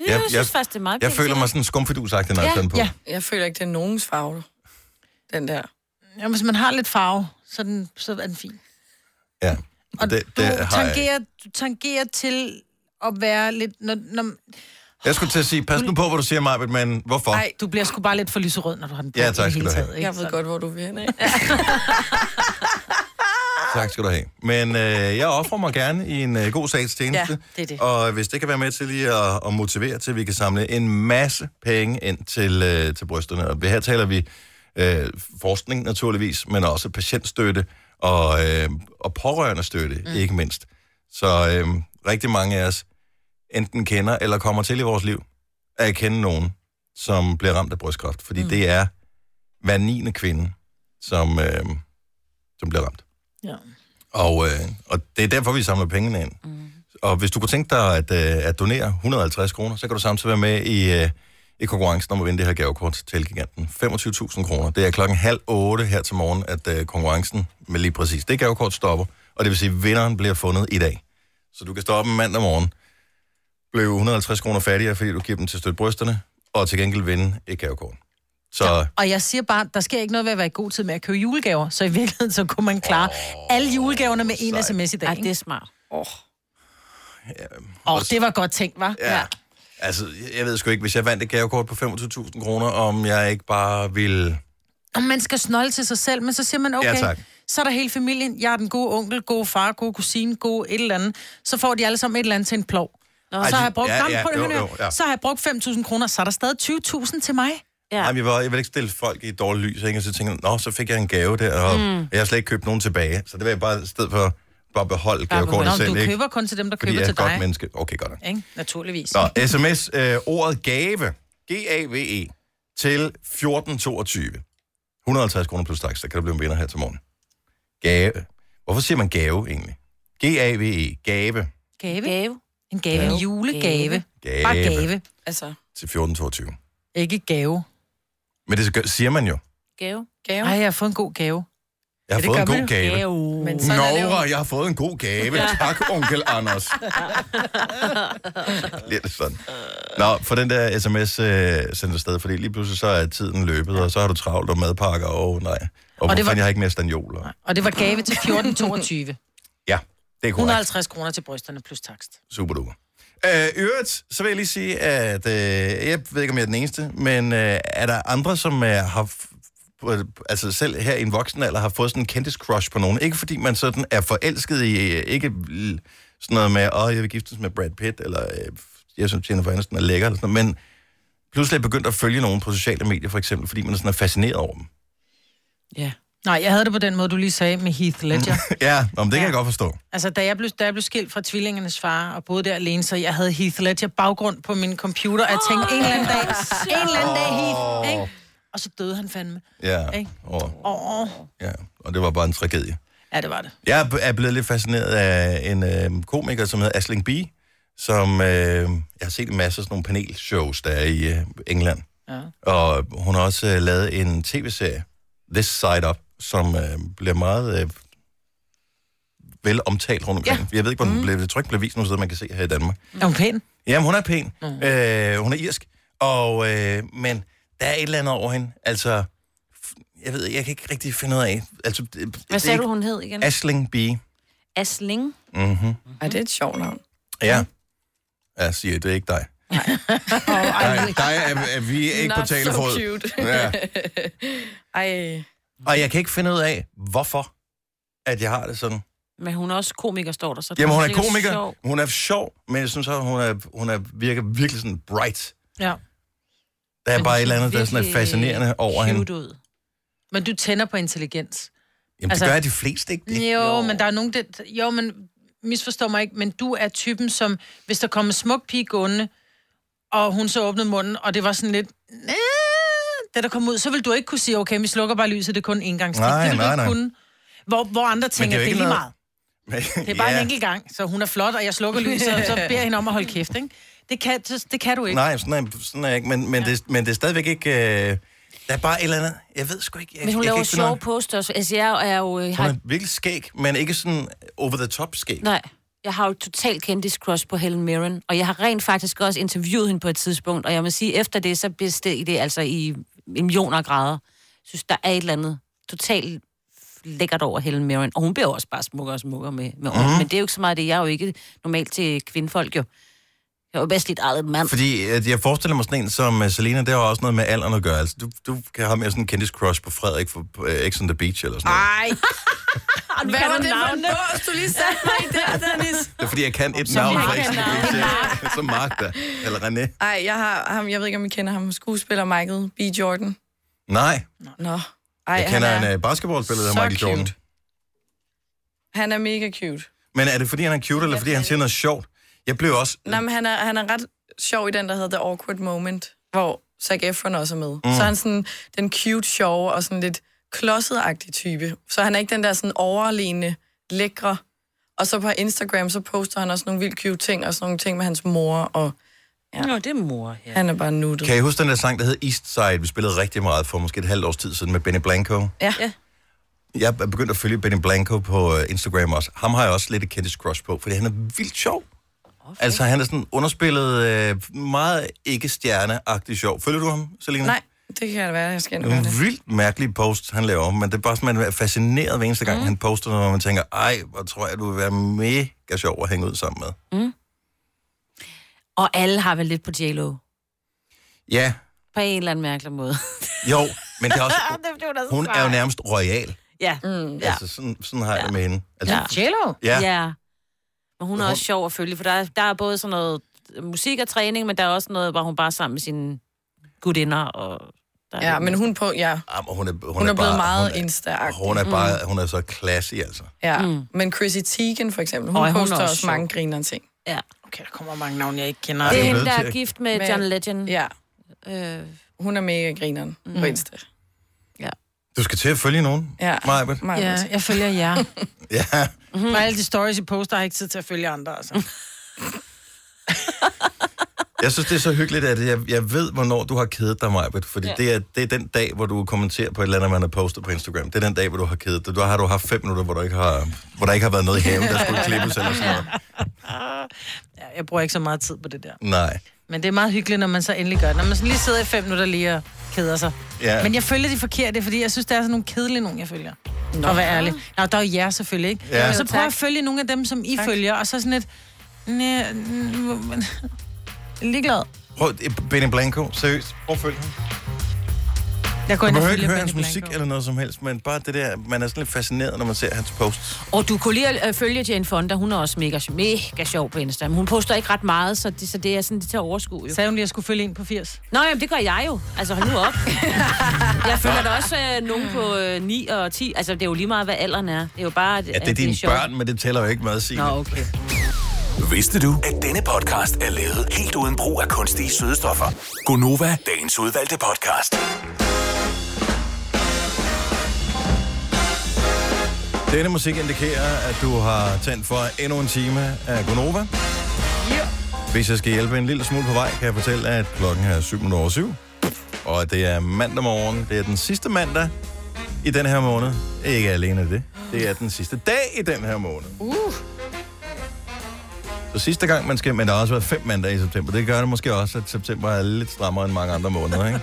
Speaker 3: Jeg, jeg synes faktisk, det er meget
Speaker 1: Jeg
Speaker 3: pænt,
Speaker 1: føler
Speaker 3: det
Speaker 1: mig
Speaker 3: her.
Speaker 1: sådan skumfidusagtig, når jeg
Speaker 2: Ja,
Speaker 1: tager den på.
Speaker 2: ja.
Speaker 4: Jeg føler ikke, det er nogens farve, den der.
Speaker 2: Ja, hvis man har lidt farve, så er den, så er den fin.
Speaker 1: ja. Og det, det
Speaker 2: Du
Speaker 1: har jeg.
Speaker 2: tangerer, du tangerer til at være lidt... Når, når,
Speaker 1: jeg skulle til at sige, pas nu på, hvad du siger, Majbet, men hvorfor?
Speaker 2: nej, du bliver sgu bare lidt for lyserød, når du har den på.
Speaker 1: Ja,
Speaker 2: i det
Speaker 1: tak skal
Speaker 2: hele
Speaker 1: du have.
Speaker 2: taget, ikke?
Speaker 4: Jeg ved godt, hvor du vil hen af.
Speaker 1: Tak skal du have. Men øh, jeg offrer mig gerne i en øh, god sags tjeneste.
Speaker 2: Ja, det er det.
Speaker 1: Og hvis det kan være med til lige at, at motivere til, at vi kan samle en masse penge ind til, øh, til brysterne. Og her taler vi øh, forskning naturligvis, men også patientstøtte og, øh, og pårørende støtte, mm. ikke mindst. Så øh, rigtig mange af os enten kender eller kommer til i vores liv at kende nogen, som bliver ramt af brystkræft. Fordi mm. det er hver 9. kvinde, som, øh, som bliver ramt.
Speaker 2: Ja.
Speaker 1: Og, øh, og det er derfor, vi samler pengene ind. Mm. Og hvis du kunne tænke dig at, øh, at donere 150 kroner, så kan du samtidig være med i, øh, i konkurrencen om at vinde det her gavekort til Elgiganten. 25.000 kroner. Det er klokken halv otte her til morgen, at øh, konkurrencen med lige præcis det gavekort stopper. Og det vil sige, at vinderen bliver fundet i dag. Så du kan stoppe en mandag morgen, blive 150 kroner fattigere, fordi du giver dem til støt brysterne, og til gengæld vinde et gavekort. Så ja.
Speaker 2: Og jeg siger bare, der sker ikke noget ved at være i god tid med at købe julegaver, så i virkeligheden så kunne man klare oh, alle julegaverne med en sms i dag.
Speaker 3: Ej,
Speaker 2: ikke?
Speaker 3: det er smart.
Speaker 2: Åh, oh, det var godt tænkt, var.
Speaker 1: Ja. Altså, jeg- jeg ved sgu ikke, hvis jeg vandt et gavekort på 25.000 kroner, om jeg ikke bare ville...
Speaker 2: Og man skal snolde til sig selv, men så siger man, okay,
Speaker 1: Ja, tak.
Speaker 2: så er der hele familien, jeg er den gode onkel, gode far, gode kusine, gode et eller andet. Så får de alle sammen et eller andet til en plov. Nå,
Speaker 1: Ej,
Speaker 2: så, har
Speaker 1: de-
Speaker 2: jeg brugt,
Speaker 1: ja,
Speaker 2: ja,
Speaker 1: ja,
Speaker 2: ja,
Speaker 1: jo,
Speaker 2: prøv, jo,
Speaker 1: jo, ja.
Speaker 2: så har jeg brugt 5.000 kroner, så er der stadig 20.000 til mig.
Speaker 1: Ja.
Speaker 3: Ja.
Speaker 1: Jamen, jeg, vil, jeg vil ikke stille folk i et dårligt lys, ikke? og så tænker jeg, nå, så fik jeg en gave der, og mm. jeg har slet ikke købt nogen tilbage. Så det vil jeg bare i stedet for bare beholde
Speaker 2: Nå,
Speaker 1: gavekortet
Speaker 2: men
Speaker 1: selv,
Speaker 2: du
Speaker 1: ikke?
Speaker 2: køber kun til dem, der
Speaker 1: Fordi
Speaker 2: køber
Speaker 1: jeg er
Speaker 2: til
Speaker 1: et godt
Speaker 2: dig.
Speaker 1: menneske. Okay, godt nok.
Speaker 2: Ikke? Naturligvis.
Speaker 1: Nå, sms, øh, ordet gave, G-A-V-E, E. til 1422. 150 kroner plus tax, så kan der blive en vinder her til morgen. Gave. Hvorfor siger man gave egentlig? G-A-V-E, E. gave.
Speaker 2: Gave.
Speaker 3: Gave.
Speaker 2: En gave.
Speaker 1: Ja.
Speaker 2: En julegave.
Speaker 1: Gave.
Speaker 2: Bare gave.
Speaker 4: Altså,
Speaker 1: Til 1422.
Speaker 2: Ikke gave.
Speaker 1: Men det gør- siger man jo.
Speaker 3: Gave.
Speaker 4: gave.
Speaker 2: Ej, jeg har fået en god gave.
Speaker 1: Jeg
Speaker 2: Ja,
Speaker 1: har
Speaker 2: det
Speaker 1: fået
Speaker 2: gør
Speaker 1: en god
Speaker 2: man jo.
Speaker 1: gave.
Speaker 2: Gave. Men sådan er det jo.
Speaker 1: Nora, jeg har fået en god gave.
Speaker 2: Ja.
Speaker 1: Tak, onkel Anders. Lidt sådan. Nå, for den der sms øh, sendt afsted, fordi lige pludselig så er tiden løbet, og så har du travlt og madpakker, og åh, nej. Og, og
Speaker 2: det
Speaker 1: det
Speaker 2: var-
Speaker 1: var... jeg har ikke mere stanioler.
Speaker 2: Og det var gave til 1422.
Speaker 1: Ja, det er korrekt.
Speaker 2: 150 kroner til brysterne plus takst.
Speaker 1: Super duper. Øh, i øvrigt, så vil jeg lige sige, at øh, jeg ved ikke, om jeg er den eneste, men øh, er der andre, som øh, har f- på- altså selv her i en voksen alder, har fået sådan en kendis crush på nogen. Ikke fordi man sådan er forelsket i, øh, ikke l- sådan noget med, åh, jeg vil giftes med Brad Pitt, eller øh, jeg synes, Jennifer Aniston er lækker, eller sådan noget, men pludselig er jeg begyndt at følge nogen på sociale medier, for eksempel, fordi man er sådan er fascineret over dem.
Speaker 2: Ja. Nej, jeg havde det på den måde, du lige sagde med Heath Ledger.
Speaker 1: ja, nå, men det kan jeg godt forstå.
Speaker 2: Altså, da jeg, blev, da jeg blev skilt fra tvillingernes far og boede der alene, så jeg havde Heath Ledger baggrund på min computer, og jeg tænkte, en eller anden dag,
Speaker 15: Åh,
Speaker 2: Ah. en eller anden dag,
Speaker 1: sjovt.
Speaker 2: Heath, ikke? Og så døde han fandme.
Speaker 1: Ja,
Speaker 2: Ikke?
Speaker 1: og,
Speaker 2: Åh,
Speaker 1: ja, og det var bare en tragedie.
Speaker 2: ja, det var det.
Speaker 1: Jeg er- er blevet lidt fascineret af en øh, komiker, som hedder Asling B., som øh, jeg har set en masse af sådan nogle panelshows, der er i øh, England. Ja. Og hun har også øh, lavet en tv-serie, This Side Up, som øh, bliver meget øh, vel omtalt rundt omkring. Ja. Jeg ved ikke, hvor den mm. blev, det tror ikke, blev vist nogen steder, man kan se her i Danmark.
Speaker 2: Er hun pæn?
Speaker 1: Jamen, hun er pæn. Mm. Øh, hun er irsk. Og, øh, men der er et eller andet over hende. Altså, f- jeg ved, jeg kan ikke rigtig finde ud af. Altså, det- det er
Speaker 3: Hvad sagde
Speaker 1: ikke-
Speaker 3: du, hun hed igen?
Speaker 1: Asling B.
Speaker 3: Asling.
Speaker 1: Mm-hmm.
Speaker 4: Ej, det er et sjovt navn.
Speaker 1: Ja. Ja, siger det er ikke dig. Nej, dig er, er vi ikke på
Speaker 4: Not so
Speaker 1: talefod.
Speaker 4: cute.
Speaker 1: ja.
Speaker 4: Ej.
Speaker 1: Og jeg kan ikke finde ud af, hvorfor at jeg har det sådan.
Speaker 3: Men hun er også komiker, står der så.
Speaker 1: Jamen, hun er
Speaker 3: sikkert
Speaker 1: komiker,
Speaker 3: sjov.
Speaker 1: hun er sjov, men jeg synes også, hun, er, hun er, virker virkelig sådan bright.
Speaker 2: Ja.
Speaker 1: Der er
Speaker 2: Men hun
Speaker 1: bare et
Speaker 2: ser
Speaker 1: eller andet, der er sådan
Speaker 2: Altså,
Speaker 1: er
Speaker 2: virkelig
Speaker 1: fascinerende over hende.
Speaker 2: cute ud. Men du tænder på intelligens.
Speaker 1: Jamen,
Speaker 2: Altså-
Speaker 1: det gør de fleste ikke.
Speaker 2: Jo, jo, men der er nogen, der... Jo, men misforstår mig ikke, men du er typen, som... Hvis der kommer smuk pige gående, og hun så åbnede munden, og det var sådan lidt... "Næh", Da der kom ud, så vil du ikke kunne sige, okay, vi slukker bare lyset, det er kun en gang.
Speaker 1: Nej,
Speaker 2: det vil du
Speaker 1: nej,
Speaker 2: ikke
Speaker 1: nej.
Speaker 2: kunne. Hvor, hvor andre tænker, det er, det er lige meget.
Speaker 1: meget.
Speaker 2: Det er bare en enkelt gang, så hun er flot, og jeg slukker lyset, og så beder jeg hende om at holde kæft, ikke? Det kan, det, det kan du ikke.
Speaker 1: Nej, sådan er, sådan er jeg ikke, men, men, det, men det er stadigvæk ikke... Øh, der er bare et eller andet... Jeg ved sgu ikke... Jeg,
Speaker 3: Men hun
Speaker 1: jeg kan
Speaker 3: laver
Speaker 1: ikke finde ud af-
Speaker 3: sjove posters. Altså, jeg er jo... Jeg
Speaker 1: Hun
Speaker 3: har,
Speaker 1: er virkelig skæg, men ikke sådan over the top skæg.
Speaker 3: nej, jeg har jo totalt kendis crush på Helen Mirren, og jeg har rent faktisk også interviewet hende på et tidspunkt, og jeg må sige, efter det, så besteg det altså i millioner af grader. Jeg synes, der er et eller andet totalt lækkert over Helen Mirren, og hun bliver jo også bare smukkere og smukkere med, med årene.
Speaker 1: Mhm.
Speaker 3: men det er jo ikke så meget det. Jeg er jo ikke normalt til kvindefolk, jo. Jeg er jo bedst lidt eget mand.
Speaker 1: Fordi at jeg forestiller mig sådan en som uh, Selena, det har også noget med alderen at gøre. Altså, du, du kan have mere sådan en kendis crush på Frederik fra uh, X on the Beach eller sådan
Speaker 4: Ej.
Speaker 1: noget.
Speaker 4: Hvad
Speaker 2: kan
Speaker 4: var
Speaker 2: du
Speaker 4: det for en
Speaker 2: navnet?
Speaker 4: bås, du lige satte mig i der, Dennis?
Speaker 1: Det er fordi, jeg kan et
Speaker 4: Så
Speaker 1: navn
Speaker 4: Mark
Speaker 1: fra X on the
Speaker 4: er
Speaker 1: Beach. ja. Så Mark da. Eller René.
Speaker 4: Ej, jeg har ham, jeg ved ikke, om I kender ham, skuespiller Michael B. Jordan.
Speaker 1: Nej,
Speaker 4: Nå. Ej,
Speaker 1: jeg kender
Speaker 4: han,
Speaker 1: en
Speaker 4: er,
Speaker 1: uh, basketballspiller, der
Speaker 4: så
Speaker 1: hedder Michael Jordan.
Speaker 4: cute. han er mega cute.
Speaker 1: Men er det fordi, han er cute, eller fordi han siger noget sjovt? Jeg blev også...
Speaker 4: Nå, men han er, han er ret sjov i den, der hedder The Awkward Moment, hvor Zac Efron også er med. Mm. Så er han sådan den cute, sjove og sådan lidt klodset type. Så han er ikke den der sådan overlegne, lækre. Og så på Instagram, så poster han også nogle vildt cute ting, og sådan nogle ting med hans mor, og
Speaker 3: Ja. Nå, det er mor, ja.
Speaker 4: han er bare nuttet.
Speaker 1: Kan I huske den der sang, der hed East Side? Vi spillede rigtig meget for måske et halvt års tid siden med Benny Blanco.
Speaker 4: Ja.
Speaker 3: ja.
Speaker 1: Jeg er begyndt at følge Benny Blanco på øh, Instagram også. Ham har jeg også lidt et kendis crush på, fordi han er vildt sjov. Okay. Altså, han er sådan underspillet øh, meget ikke stjerneagtig sjov. Følger du ham, Selina?
Speaker 4: Nej, det kan det være, jeg skal ind og
Speaker 1: Det
Speaker 4: gøre
Speaker 1: er Nogle
Speaker 4: det.
Speaker 1: vildt mærkelige posts, han laver, men det er bare sådan, man er fascineret hver eneste gang, mm. han poster noget, og man tænker, ej, hvor tror jeg, du vil være mega sjov at hænge ud sammen med.
Speaker 3: Og alle har vel lidt på JLo.
Speaker 1: Ja,
Speaker 3: På en eller anden mærkelig måde.
Speaker 1: jo, men det er også,
Speaker 3: Det blev da så
Speaker 1: hun er jo
Speaker 3: sejt.
Speaker 1: nærmest royal.
Speaker 3: Ja. Mm,
Speaker 1: Ja. Altså, sådan, sådan har jeg det med hende. Altså,
Speaker 2: Jello?
Speaker 1: Ja.
Speaker 3: ja. Men hun er også sjov at følge, for der er, der er både sådan noget musik og træning, men der er også noget, hvor hun bare er sammen med sine gudinder. Og der er
Speaker 4: Ja,
Speaker 3: lidt
Speaker 4: men
Speaker 3: mere.
Speaker 4: hun på, ja.
Speaker 1: Jamen, hun er, hun
Speaker 4: Hun er blevet
Speaker 1: bare,
Speaker 4: meget
Speaker 1: hun er,
Speaker 4: insta-agtig.
Speaker 1: Hun er bare, hun er så classy, altså.
Speaker 4: Ja, mm. men Chrissy Teigen for eksempel, hun
Speaker 2: Øj,
Speaker 4: Øj,
Speaker 2: hun er
Speaker 4: poster hun også,
Speaker 2: også
Speaker 4: også
Speaker 2: sjov. Mm.
Speaker 4: mange grinerende ting.
Speaker 3: Ja.
Speaker 2: Okay, der kommer mange navne, jeg ikke kender.
Speaker 1: Det er
Speaker 3: hende, der er gift med John Legend.
Speaker 4: Ja.
Speaker 3: Øh,
Speaker 4: hun er mega grineren mm. på Insta.
Speaker 1: Du skal til at følge nogen,
Speaker 4: Ja.
Speaker 1: Majbet.
Speaker 2: Ja, jeg følger jer.
Speaker 1: Ja.
Speaker 2: Mm-hmm. Og alle de stories, I poster, har jeg ikke tid til at følge andre, altså.
Speaker 1: Jeg synes, det er så hyggeligt, at jeg, jeg ved, hvornår du har kedet dig, Majbert, fordi
Speaker 15: Ja.
Speaker 1: ja. det, er, det er den dag, hvor du kommenterer på et eller andet, man har postet på Instagram. Det er den dag, hvor du har kedet dig. Du har, du har haft fem minutter, hvor, du ikke har, hvor der ikke har været noget i haven, der skulle klippes eller sådan noget.
Speaker 2: Ja, jeg bruger ikke så meget tid på det der.
Speaker 1: Nej.
Speaker 2: Men det er meget hyggeligt, når man så endelig gør det. Når man sådan lige sidder i fem minutter lige og keder sig.
Speaker 1: Ja.
Speaker 2: Men jeg følger de forkerte, fordi jeg synes, der er sådan nogle kedelige nogen, jeg følger. Nå. Og være ærlig. Nå, der er jo jer selvfølgelig, ikke?
Speaker 1: Ja.
Speaker 2: Og så
Speaker 1: Jo,
Speaker 2: prøver jeg at
Speaker 1: tak.
Speaker 2: følge nogle af dem, som I tak. følger, og så sådan et... Næ, n- ligeglad.
Speaker 1: Prøv, eh, Benny Blanco, seriøst, prøv at følge ham.
Speaker 2: Jeg går
Speaker 1: du
Speaker 2: ind og
Speaker 1: behøver ikke
Speaker 2: følger
Speaker 1: høre
Speaker 2: Benny
Speaker 1: hans
Speaker 2: Blanco.
Speaker 1: musik eller noget som helst, men bare det der, man er sådan lidt fascineret, når man ser hans posts.
Speaker 3: Og du kunne lige at øh, følge Jane Fonda, hun er også mega, mega sjov på Insta. Men hun poster ikke ret meget, så det, så det er sådan, det tager overskue jo.
Speaker 2: Sagde hun lige, at jeg skulle følge en på 80?
Speaker 3: Nå, jamen, det gør jeg jo. Altså, hold nu op. jeg følger da også øh, nogen på øh, 9 og 10. Altså, det er jo lige meget, hvad alderen er. Det er jo bare, at,
Speaker 1: Ja, det er dine børn, men det tæller jo ikke meget, Signe.
Speaker 3: Nå, okay.
Speaker 14: Vidste du, at denne podcast er lavet helt uden brug af kunstige sødestoffer? Gonova, dagens udvalgte podcast.
Speaker 1: Denne musik indikerer, at du har tændt for endnu en time af Gonova. Yeah. Hvis jeg skal hjælpe en lille smule på vej, kan jeg fortælle, at klokken er 7 over 7. Og det er mandag morgen. Det er den sidste mandag i den her måned. Ikke alene det. Det er den sidste dag i den her måned.
Speaker 2: Uh.
Speaker 1: Så sidste gang man skal, men der har også været fem mandage i september. Det gør det måske også, at september er lidt strammere end mange andre måneder, ikke?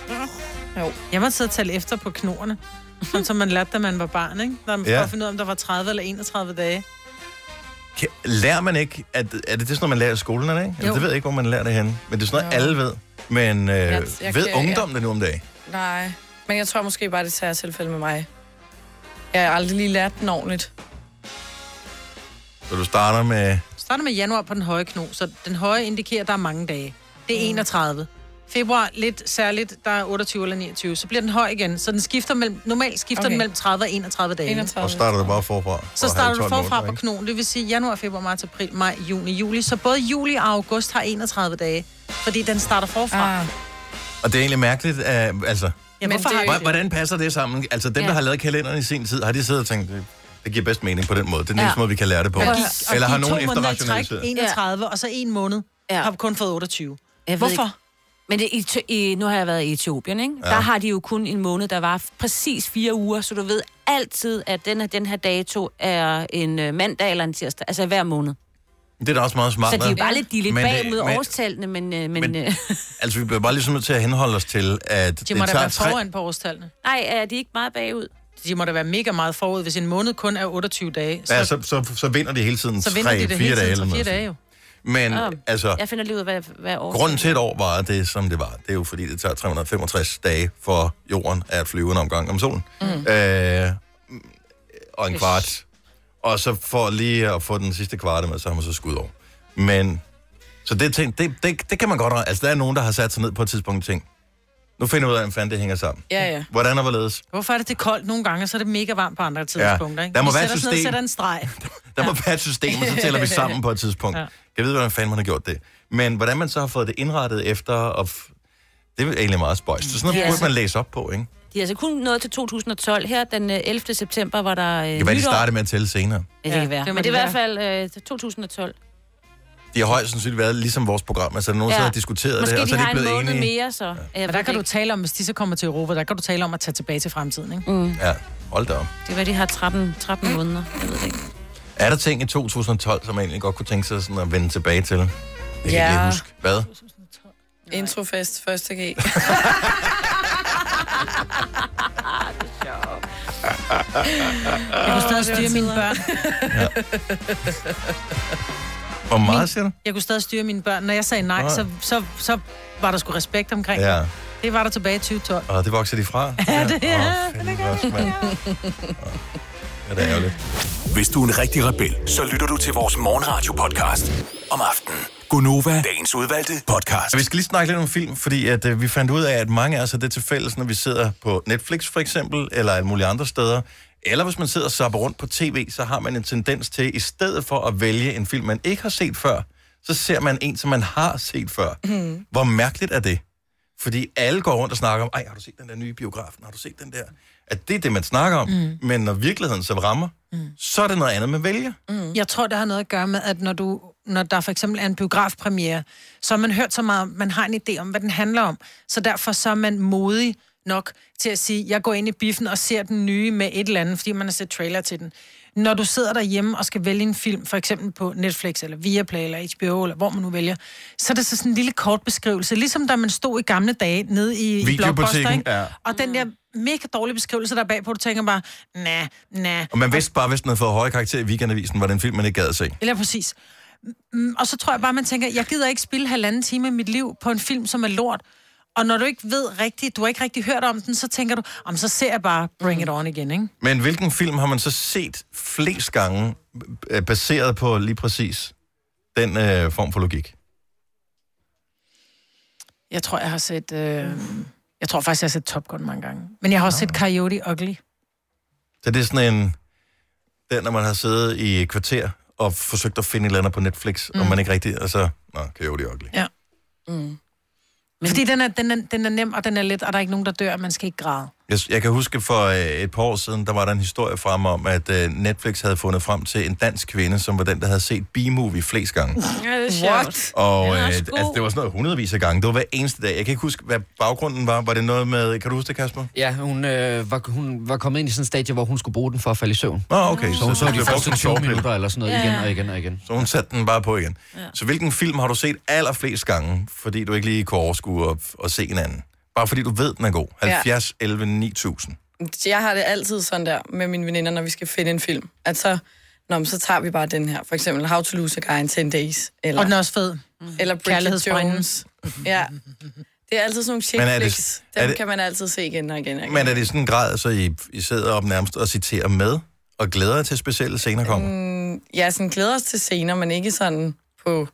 Speaker 2: Jo. Jeg måtte sidde og tale efter på knorene. Sådan som man lærte, da man var barn, ikke? Der man
Speaker 1: Ja.
Speaker 2: ja. finde ud af, om der var 30 eller 31 dage.
Speaker 1: Kan- Lærer man ikke, at, er det, det er sådan noget, man lærer i skolen, er det ikke? Eller,
Speaker 2: Jo.
Speaker 1: det ved jeg ikke, hvor man lærer det henne. Men det er sådan noget, alle ved. Men øh,
Speaker 4: Jeg- jeg
Speaker 1: ved
Speaker 4: kan-
Speaker 1: ungdommen det nu om dagen?
Speaker 4: Nej, men jeg tror måske bare, det tager tilfælde med mig. Jeg har aldrig lige lært den ordentligt.
Speaker 1: Mm. Så du starter med...
Speaker 2: Starter med januar på den høje kno, så den høje indikerer, at der er mange dage. Det er 31. Februar lidt særligt, der er 28 eller 29. Så bliver den høj igen, så den skifter mellem, normalt skifter okay.
Speaker 4: Okay.
Speaker 2: den mellem 30 og 31 dage.
Speaker 4: 31.
Speaker 1: Og starter du bare forfra.
Speaker 2: Øh. Så
Speaker 1: og
Speaker 2: starter
Speaker 1: halv
Speaker 2: du
Speaker 1: tolv
Speaker 2: forfra
Speaker 1: måneder,
Speaker 2: på
Speaker 1: ikke?
Speaker 2: knogen, det vil sige januar, februar, marts, april, maj, juni, juli. Så både juli og august har 31 dage, fordi den starter forfra. Ah.
Speaker 1: Og det er egentlig mærkeligt, at, altså...
Speaker 2: Ja, men hvorfor det- har de
Speaker 1: det...
Speaker 2: det?
Speaker 1: Hvordan passer det sammen? Altså dem,
Speaker 2: Ja.
Speaker 1: der har lavet kalenderen i sin tid, har de siddet og tænkt, det, det giver bedst mening på den måde. Det er den
Speaker 2: Ja.
Speaker 1: eneste måde, vi kan lære det på.
Speaker 2: Og de- og
Speaker 1: Eller har
Speaker 2: de to
Speaker 1: nogen
Speaker 2: måneder i træk,
Speaker 1: efterrationaliseret?
Speaker 2: 31, og så en måned ja. har kun fået 28.
Speaker 3: Jeg ved
Speaker 2: Hvorfor?
Speaker 3: Ikke. Men det, i, Ethi- i, nu har jeg været i Etiopien, ikke?
Speaker 2: Ja.
Speaker 3: Ja. Der har de jo kun en måned, der var f- præcis fire uger, så du ved altid, at den her, den her dato er en øh, mandag eller en tirsdag, altså hver måned.
Speaker 1: Det er da også meget smart.
Speaker 3: så de er jo
Speaker 1: hva'?
Speaker 3: bare lidt, de er lidt
Speaker 1: Men det-
Speaker 3: bagud
Speaker 1: men-
Speaker 3: årstallene, men... Øh, men,
Speaker 1: men-
Speaker 3: men øh,
Speaker 1: Altså, vi bliver bare ligesom nødt til at henholde os til, at
Speaker 2: De
Speaker 1: det
Speaker 2: må da
Speaker 1: tager
Speaker 2: være
Speaker 1: tre...
Speaker 2: foran på årstallene.
Speaker 3: Nej, er de ikke meget bagud?
Speaker 2: De må da være mega meget forud. Hvis en måned kun er 28 dage, så,
Speaker 1: Ja, så, så, så vinder de hele tiden
Speaker 2: så vinder
Speaker 1: tre,
Speaker 2: de det
Speaker 1: fire
Speaker 2: hele
Speaker 1: dage
Speaker 2: tiden.
Speaker 1: eller
Speaker 2: Så fire
Speaker 1: noget.
Speaker 2: dage jo.
Speaker 1: Men
Speaker 3: Åh,
Speaker 1: altså,
Speaker 3: Jeg finder lige ud af, hvad, hvad år...
Speaker 1: grunden til at et år var det, som det var. Det er jo fordi, det tager 365 dage for jorden at flyve en omgang om solen. Mm. Øh, og en kvart. Og så for lige at få den sidste kvarte med, så har man så skudt over. Men, så det, ting, det, det, det kan man godt... Altså, der er nogen, der har sat sig ned på et tidspunkt og tænkt, nu finder jeg ud af, hvordan fanden det hænger sammen.
Speaker 2: Ja, ja.
Speaker 1: Hvordan og hvorledes?
Speaker 2: Hvorfor er det, det er koldt nogle gange, og så er det mega varmt på andre tidspunkter? Ikke?
Speaker 1: Der må
Speaker 2: Vi
Speaker 1: være
Speaker 2: sætter
Speaker 1: et
Speaker 2: os ned og
Speaker 1: system.
Speaker 2: sætter en streg.
Speaker 1: Der må være et system, og så tæller vi sammen på et tidspunkt.
Speaker 2: Ja.
Speaker 1: Ja. Jeg ved, hvordan fanden man har gjort det. Men hvordan man så har fået det indrettet efter, og f- det er egentlig meget spøjst. Så sådan noget
Speaker 3: Ja.
Speaker 1: ja. burde man læse op på, ikke?
Speaker 3: De er altså kun nået til 2012 her, den øh, 11. september, var der øh,
Speaker 1: Det kan være, de startede med at tælle senere.
Speaker 3: Ja, det kan være.
Speaker 2: det må
Speaker 3: Det Men det
Speaker 2: det
Speaker 3: er i hvert fald øh, 2012.
Speaker 1: De har højst sandsynligt været ligesom vores program, altså der er nogen, der har diskuteret
Speaker 3: Måske
Speaker 1: det, og så er
Speaker 3: de
Speaker 1: de
Speaker 3: har
Speaker 1: ikke
Speaker 3: en
Speaker 1: blevet
Speaker 3: måned
Speaker 1: enige.
Speaker 3: mere, så... Ja.
Speaker 2: Men der kan du tale om, hvis de så kommer til Europa, der kan du tale om at tage tilbage til fremtiden, ikke?
Speaker 3: Mm.
Speaker 1: Ja, hold da op.
Speaker 3: Det var, de har 13, 13 måneder. Jeg ved det ikke.
Speaker 1: Er der ting i 2012, som man egentlig godt kunne tænke sig sådan at vende tilbage til? Jeg kan
Speaker 4: Ja.
Speaker 1: ja. ikke lige huske. Hvad?
Speaker 4: Introfest, første G.
Speaker 2: Jeg kunne stadig styre mine børn.
Speaker 1: Hvor meget siger du?
Speaker 2: Jeg kunne stadig styre mine børn. Når jeg sagde nej,
Speaker 1: Nej.
Speaker 2: så, så, så var der sgu respekt omkring
Speaker 1: Ja.
Speaker 2: det. Det var der tilbage i 2012.
Speaker 1: Og det vokser de fra.
Speaker 2: Ja, det
Speaker 1: Åh,
Speaker 2: er
Speaker 1: fandme godt, mand. Ja, det er ærgerligt.
Speaker 14: Hvis du er en rigtig rebel, så lytter du til vores morgenradio-podcast om aftenen. Gonova, dagens udvalgte podcast.
Speaker 1: Og vi skal lige snakke lidt om film, fordi at, øh, vi fandt ud af, at mange af os har det til fælles, når vi sidder på Netflix for eksempel, eller alle mulige andre steder. Eller hvis man sidder og zapper rundt på tv, så har man en tendens til, i stedet for at vælge en film, man ikke har set før, så ser man en, som man har set før. Mm. Hvor mærkeligt er det? Fordi alle går rundt og snakker om, ej, har du set den der nye biografen? Har du set den der? At det er det, man snakker om. Mm. Men når virkeligheden så rammer, mm. så er det noget andet, man vælger.
Speaker 2: Mm. Jeg tror, det har noget at gøre med, at når du, når der for eksempel er en biografpremiere, så har man hørt så meget, om- man har en idé om, hvad den handler om. Så derfor så er man modig nok til at sige, jeg går ind i biffen og ser den nye med et eller andet, fordi man har set trailer til den. Når du sidder derhjemme og skal vælge en film, for eksempel på Netflix, eller Viaplay, eller HBO, eller hvor man nu vælger, så er det så sådan en lille kort beskrivelse, ligesom da man stod i gamle dage nede i, i
Speaker 1: Videobutikken,
Speaker 2: Blockbuster, ikke?
Speaker 1: ja.
Speaker 2: og den der mega dårlige beskrivelse der er bagpå, du tænker bare, nej, nej,
Speaker 1: Og man vidste bare, hvis den havde fået høje karakterer i weekendavisen, var det en film, man ikke gad at se.
Speaker 2: Eller præcis. Mm, Og så tror jeg bare, man tænker, jeg gider ikke spille halvanden time af mit liv på en film, som er lort. Og når du ikke ved rigtigt, du har ikke rigtig hørt om den, så tænker du, om så ser jeg bare Bring It On igen, ikke?
Speaker 1: Men hvilken film har man så set flest gange, øh, baseret på lige præcis den øh, form for logik?
Speaker 2: Jeg tror, jeg har set... Øh... Jeg tror faktisk, jeg har set Top Gun mange gange. Men jeg har også set Coyote Ugly.
Speaker 1: Så det er sådan en... Den, når man har siddet i et kvarter og forsøgt at finde et eller andet på Netflix, mm. og
Speaker 2: Mm.
Speaker 1: man ikke rigtig... Altså, nå, kan jo det ugly.
Speaker 2: Ja. Mm. Men... Fordi den er, den, er, den er nem, og den er let, og der er ikke nogen, der dør, og man skal ikke græde.
Speaker 1: Jeg, jeg kan huske for øh, et par år siden, der var der en historie frem om, at øh, Netflix havde fundet frem til en dansk kvinde, som var den, der havde set B-movie flest gange.
Speaker 3: Ja, det er sjovt.
Speaker 2: What?
Speaker 1: Og
Speaker 3: Den er
Speaker 1: øh,
Speaker 3: også
Speaker 1: altså,
Speaker 3: god.
Speaker 1: det var sådan noget hundredvis af gange. Det var hver eneste dag. Jeg kan ikke huske, hvad baggrunden var. Var det noget med... Kan du huske det, Kasper?
Speaker 5: Ja, hun, øh, var, hun var kommet ind i sådan en stadie, hvor hun skulle bruge den for at falde i søvn.
Speaker 1: Nå, ah, okay.
Speaker 5: Så hun så,
Speaker 1: det
Speaker 5: de
Speaker 1: blev brugt som
Speaker 5: første 20
Speaker 1: sovepille.
Speaker 5: minutter eller sådan noget
Speaker 1: Ja.
Speaker 5: igen og igen og igen.
Speaker 1: Så hun satte den bare på igen. Ja. Så hvilken film har du set allerflest gange, fordi du ikke lige kunne overskue at, at se en anden? Bare fordi du ved, den er god.
Speaker 4: Ja.
Speaker 1: 70, 11, 9000.
Speaker 4: Jeg har det altid sådan der med mine veninder, når vi skal finde en film. At så, nå, men så tager vi bare den her. For eksempel How to Lose a Guy in 10 Days. Eller,
Speaker 2: Og den er også fed.
Speaker 4: Eller Bridget
Speaker 2: Kærlighedsbrønden.
Speaker 4: Jones. Ja. Det er altid sådan nogle chick
Speaker 1: Men er det-
Speaker 4: flicks.
Speaker 1: er
Speaker 4: Dem
Speaker 1: det-
Speaker 4: kan man altid se igen og igen og igen.
Speaker 1: Men er det i sådan en grad, så I, I sidder op nærmest og citerer med, og glæder jer til specielle scener kommer?
Speaker 4: Mm, ja, sådan glæder os til scener, men ikke sådan på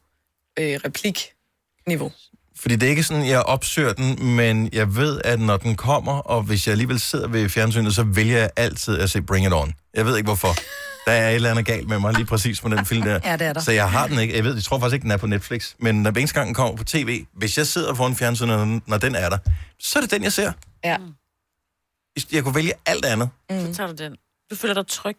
Speaker 4: øh, replikniveau.
Speaker 1: Fordi det er ikke sådan, jeg opsøger den, men jeg ved, at når den kommer, og hvis jeg alligevel sidder ved fjernsynet, så vælger jeg altid at se Bring It On. Jeg ved ikke hvorfor. Der er et eller andet galt med mig lige præcis med den film der.
Speaker 2: Ja, det er der.
Speaker 1: Så jeg har den ikke. Jeg ved, jeg tror faktisk ikke, den er på Netflix. Men når hver eneste gang den kommer på tv, hvis jeg sidder foran fjernsynet, når den- når den er der, så er det den, jeg ser.
Speaker 4: Ja.
Speaker 1: Jeg kunne vælge alt andet.
Speaker 3: Så tager du den. Du føler dig tryg.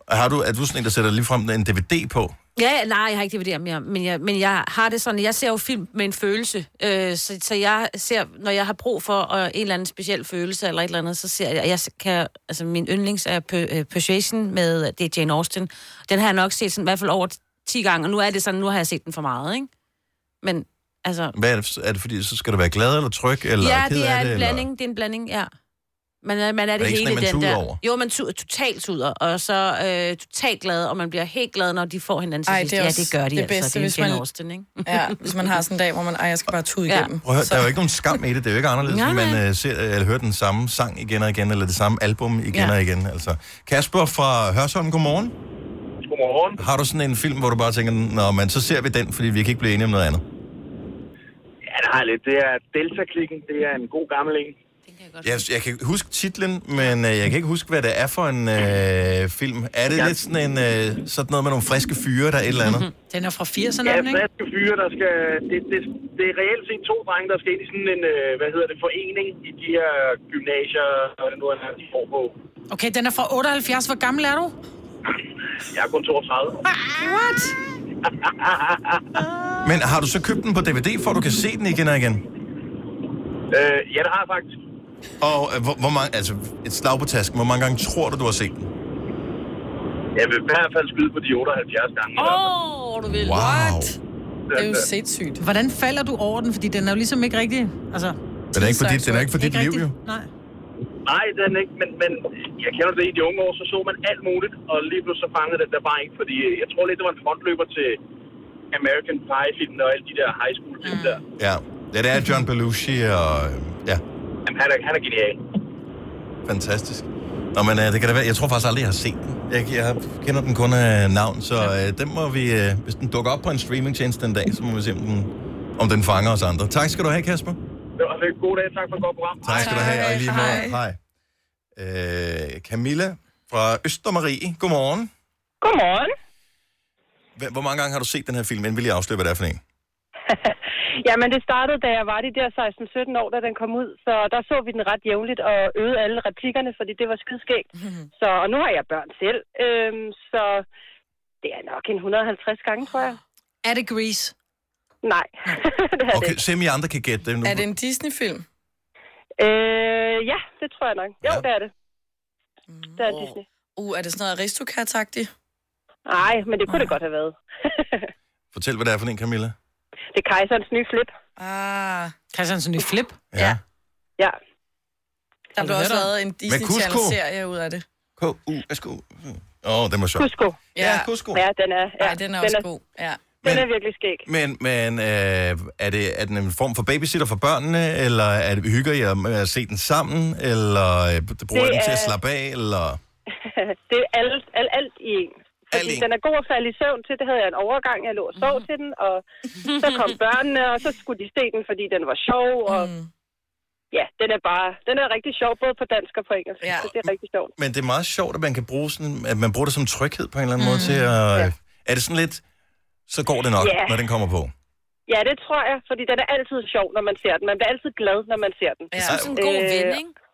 Speaker 1: Og Har du, er du sådan en, der sætter lige frem en DVD på?
Speaker 3: Ja, ja, nej, jeg har ikke DVD'er mere, men jeg, men jeg har det sådan, jeg ser jo film med en følelse, øh, så, så jeg ser, når jeg har brug for øh, en eller anden speciel følelse eller et eller andet, så ser jeg, jeg kan, altså min yndlings er P- øh, Persuasion med, øh, det er Jane Austen, den har jeg nok set sådan, i hvert fald over 10 gange, og nu er det sådan, nu har jeg set den for meget, ikke? Men, altså,
Speaker 1: Hvad er, det, er det fordi, så skal du være glad eller tryg? Eller
Speaker 3: ja,
Speaker 1: ked
Speaker 3: det er
Speaker 1: af
Speaker 3: en
Speaker 1: det,
Speaker 3: blanding, det er en blanding, ja. Man er, man er
Speaker 1: Er det
Speaker 3: det,
Speaker 1: ikke
Speaker 3: hele
Speaker 1: sådan, at man
Speaker 3: den
Speaker 1: tuder
Speaker 3: der.
Speaker 1: over?
Speaker 3: Jo, man tuder, totalt tuder, og så øh, totalt glad, og man bliver helt glad, når de får hinanden til
Speaker 4: Ej,
Speaker 3: sidst.
Speaker 4: det er
Speaker 3: ja,
Speaker 4: også
Speaker 3: det gør de
Speaker 4: det
Speaker 3: altså.
Speaker 4: bedste,
Speaker 3: det er
Speaker 4: hvis
Speaker 3: en Jane
Speaker 4: man-
Speaker 3: Austen, ikke?
Speaker 4: Ja, hvis man har sådan en dag, hvor man, ej, jeg skal bare tude igennem.
Speaker 1: Prøv at høre, der er jo ikke nogen skam i det. Det er jo ikke anderledes,
Speaker 4: Nej,
Speaker 1: fordi man
Speaker 4: nej.
Speaker 1: øh, ser, eller hører den samme sang igen og igen, eller det samme album igen
Speaker 4: Ja.
Speaker 1: og igen. Altså. Kasper fra Hørsholm, godmorgen. Godmorgen. Har du sådan en film, hvor du bare tænker, nå, men så ser vi den, fordi vi kan ikke blive enige om noget andet?
Speaker 15: Ja, det har jeg lidt. Det er Delta-klikken. Det er en god gammel en.
Speaker 1: Jeg, jeg kan huske titlen, men øh, jeg kan ikke huske, hvad det er for en øh, film. Er det
Speaker 15: Ja.
Speaker 1: lidt sådan, en, øh, sådan noget med nogle friske fyre, der er et eller andet?
Speaker 2: Den er fra 80'erne,
Speaker 15: Ja,
Speaker 2: er den, ikke?
Speaker 15: friske fyre, der skal... Det, det, det er reelt set to drenge, der skal ind i sådan en, øh, hvad hedder det, forening i de her gymnasier, og det nu er, de får på.
Speaker 2: Okay, den er fra 78. Hvor gammel er du?
Speaker 15: Jeg er kun 32.
Speaker 2: What?
Speaker 1: Men har du så købt den på DVD, for at du kan se den igen og igen?
Speaker 15: Øh, ja, det har jeg faktisk.
Speaker 1: Og øh, hvor, hvor mange, altså et slag på tasken, hvor mange gange tror du, du har set den?
Speaker 15: Jeg vil i hvert fald skyde på de 78 gange. i hvert fald.
Speaker 2: Åh, oh, du vil.
Speaker 1: Wow. What?
Speaker 2: Det er jo sindssygt. Hvordan falder du over den? Fordi den er jo ligesom ikke rigtig... Altså,
Speaker 1: Den er ikke for dit, den er ikke for dit
Speaker 2: Ikke
Speaker 1: liv,
Speaker 2: rigtig.
Speaker 1: jo.
Speaker 2: Nej.
Speaker 15: Nej, den er ikke, men, men jeg kender det i de unge år, så så man alt muligt, og lige pludselig så fangede den der bare ikke, fordi øh, jeg tror lidt, det var en frontløber til American Pie-filmen og alle de der high school-film
Speaker 16: Mm.
Speaker 15: der.
Speaker 1: Ja, ja det er John Belushi, og øh, ja,
Speaker 15: Jamen, han er, han er genial.
Speaker 1: fantastisk. Nå, men øh, det kan da være, jeg tror faktisk aldrig, jeg har set den. Jeg, jeg kender den kun af navn, så øh, den må vi, øh, hvis den dukker op på en streamingtjeneste den dag, så må vi se, om den, om den fanger os andre. Tak skal du have, Kasper.
Speaker 15: Det var en god dag. Tak for et godt program.
Speaker 1: Tak skal du have, og i lige med. Hej. Øh, Camilla fra Østermarie, godmorgen.
Speaker 16: Godmorgen.
Speaker 1: Hva- Hvor mange gange har du set den her film, inden vi lige afslører, hvad det er for en?
Speaker 16: Jamen, det startede, da jeg var de der 16-17 år, da den kom ud. Så der så vi den ret jævnligt og øvede alle replikkerne, fordi det var skidskægt.
Speaker 3: Mhm.
Speaker 16: Så, og nu har jeg børn selv, øhm, så det er nok en 150 gange, tror jeg.
Speaker 2: Er det Grease?
Speaker 16: Nej. det er
Speaker 1: Okay, se om I andre kan gætte det nu.
Speaker 4: Er det en Disney-film?
Speaker 16: Øh, ja, det tror jeg nok. Jo, ja. det er det. Det er Disney.
Speaker 4: Uh, er det sådan noget aristokrat-agtigt?
Speaker 16: Nej, men det kunne det godt have været.
Speaker 1: Fortæl, hvad det er for en, Camilla.
Speaker 16: Det er kejserens nye flip.
Speaker 4: Ah.
Speaker 2: Christiansen i Flip?
Speaker 1: Ja.
Speaker 16: Ja.
Speaker 4: Der blev også lavet en Disney-serie ud af det.
Speaker 1: K-U-S-K. Åh, oh, den var sjov.
Speaker 16: Kusko.
Speaker 4: Ja,
Speaker 15: Uh.
Speaker 1: Kusko.
Speaker 16: Ja, den er, ja.
Speaker 4: Ej, den er også god. Ja.
Speaker 16: Den er virkelig skæg.
Speaker 1: Men, men øh, er, det, er den en form for babysitter for børnene, eller er det, hygger I jer med at se den sammen, eller øh, bruger I
Speaker 16: Det
Speaker 1: den til at
Speaker 16: er-
Speaker 1: slappe af, eller...
Speaker 16: det er alt, alt, alt i en. Fordi den er god at falde i søvn til. Det havde jeg en overgang. Jeg lå og
Speaker 3: Mhm.
Speaker 16: sov til den, og så kom børnene, og så skulle de se den, fordi den var sjov. Og ja, den er bare... Den er rigtig sjov, både på dansk og på engelsk. Ja. Så det er rigtig sjovt.
Speaker 1: Men det er meget sjovt, at man kan bruge sådan, at man bruger det som tryghed på en eller anden
Speaker 16: Mm,
Speaker 1: måde til at... Ja. Er det sådan lidt, så går det nok,
Speaker 16: Ja.
Speaker 1: når den kommer på?
Speaker 16: Ja, det tror jeg, fordi den er altid sjov, når man ser den. Man bliver altid glad, når man ser den.
Speaker 3: Ja. Sådan en god
Speaker 16: Øh,
Speaker 3: ven, ikke?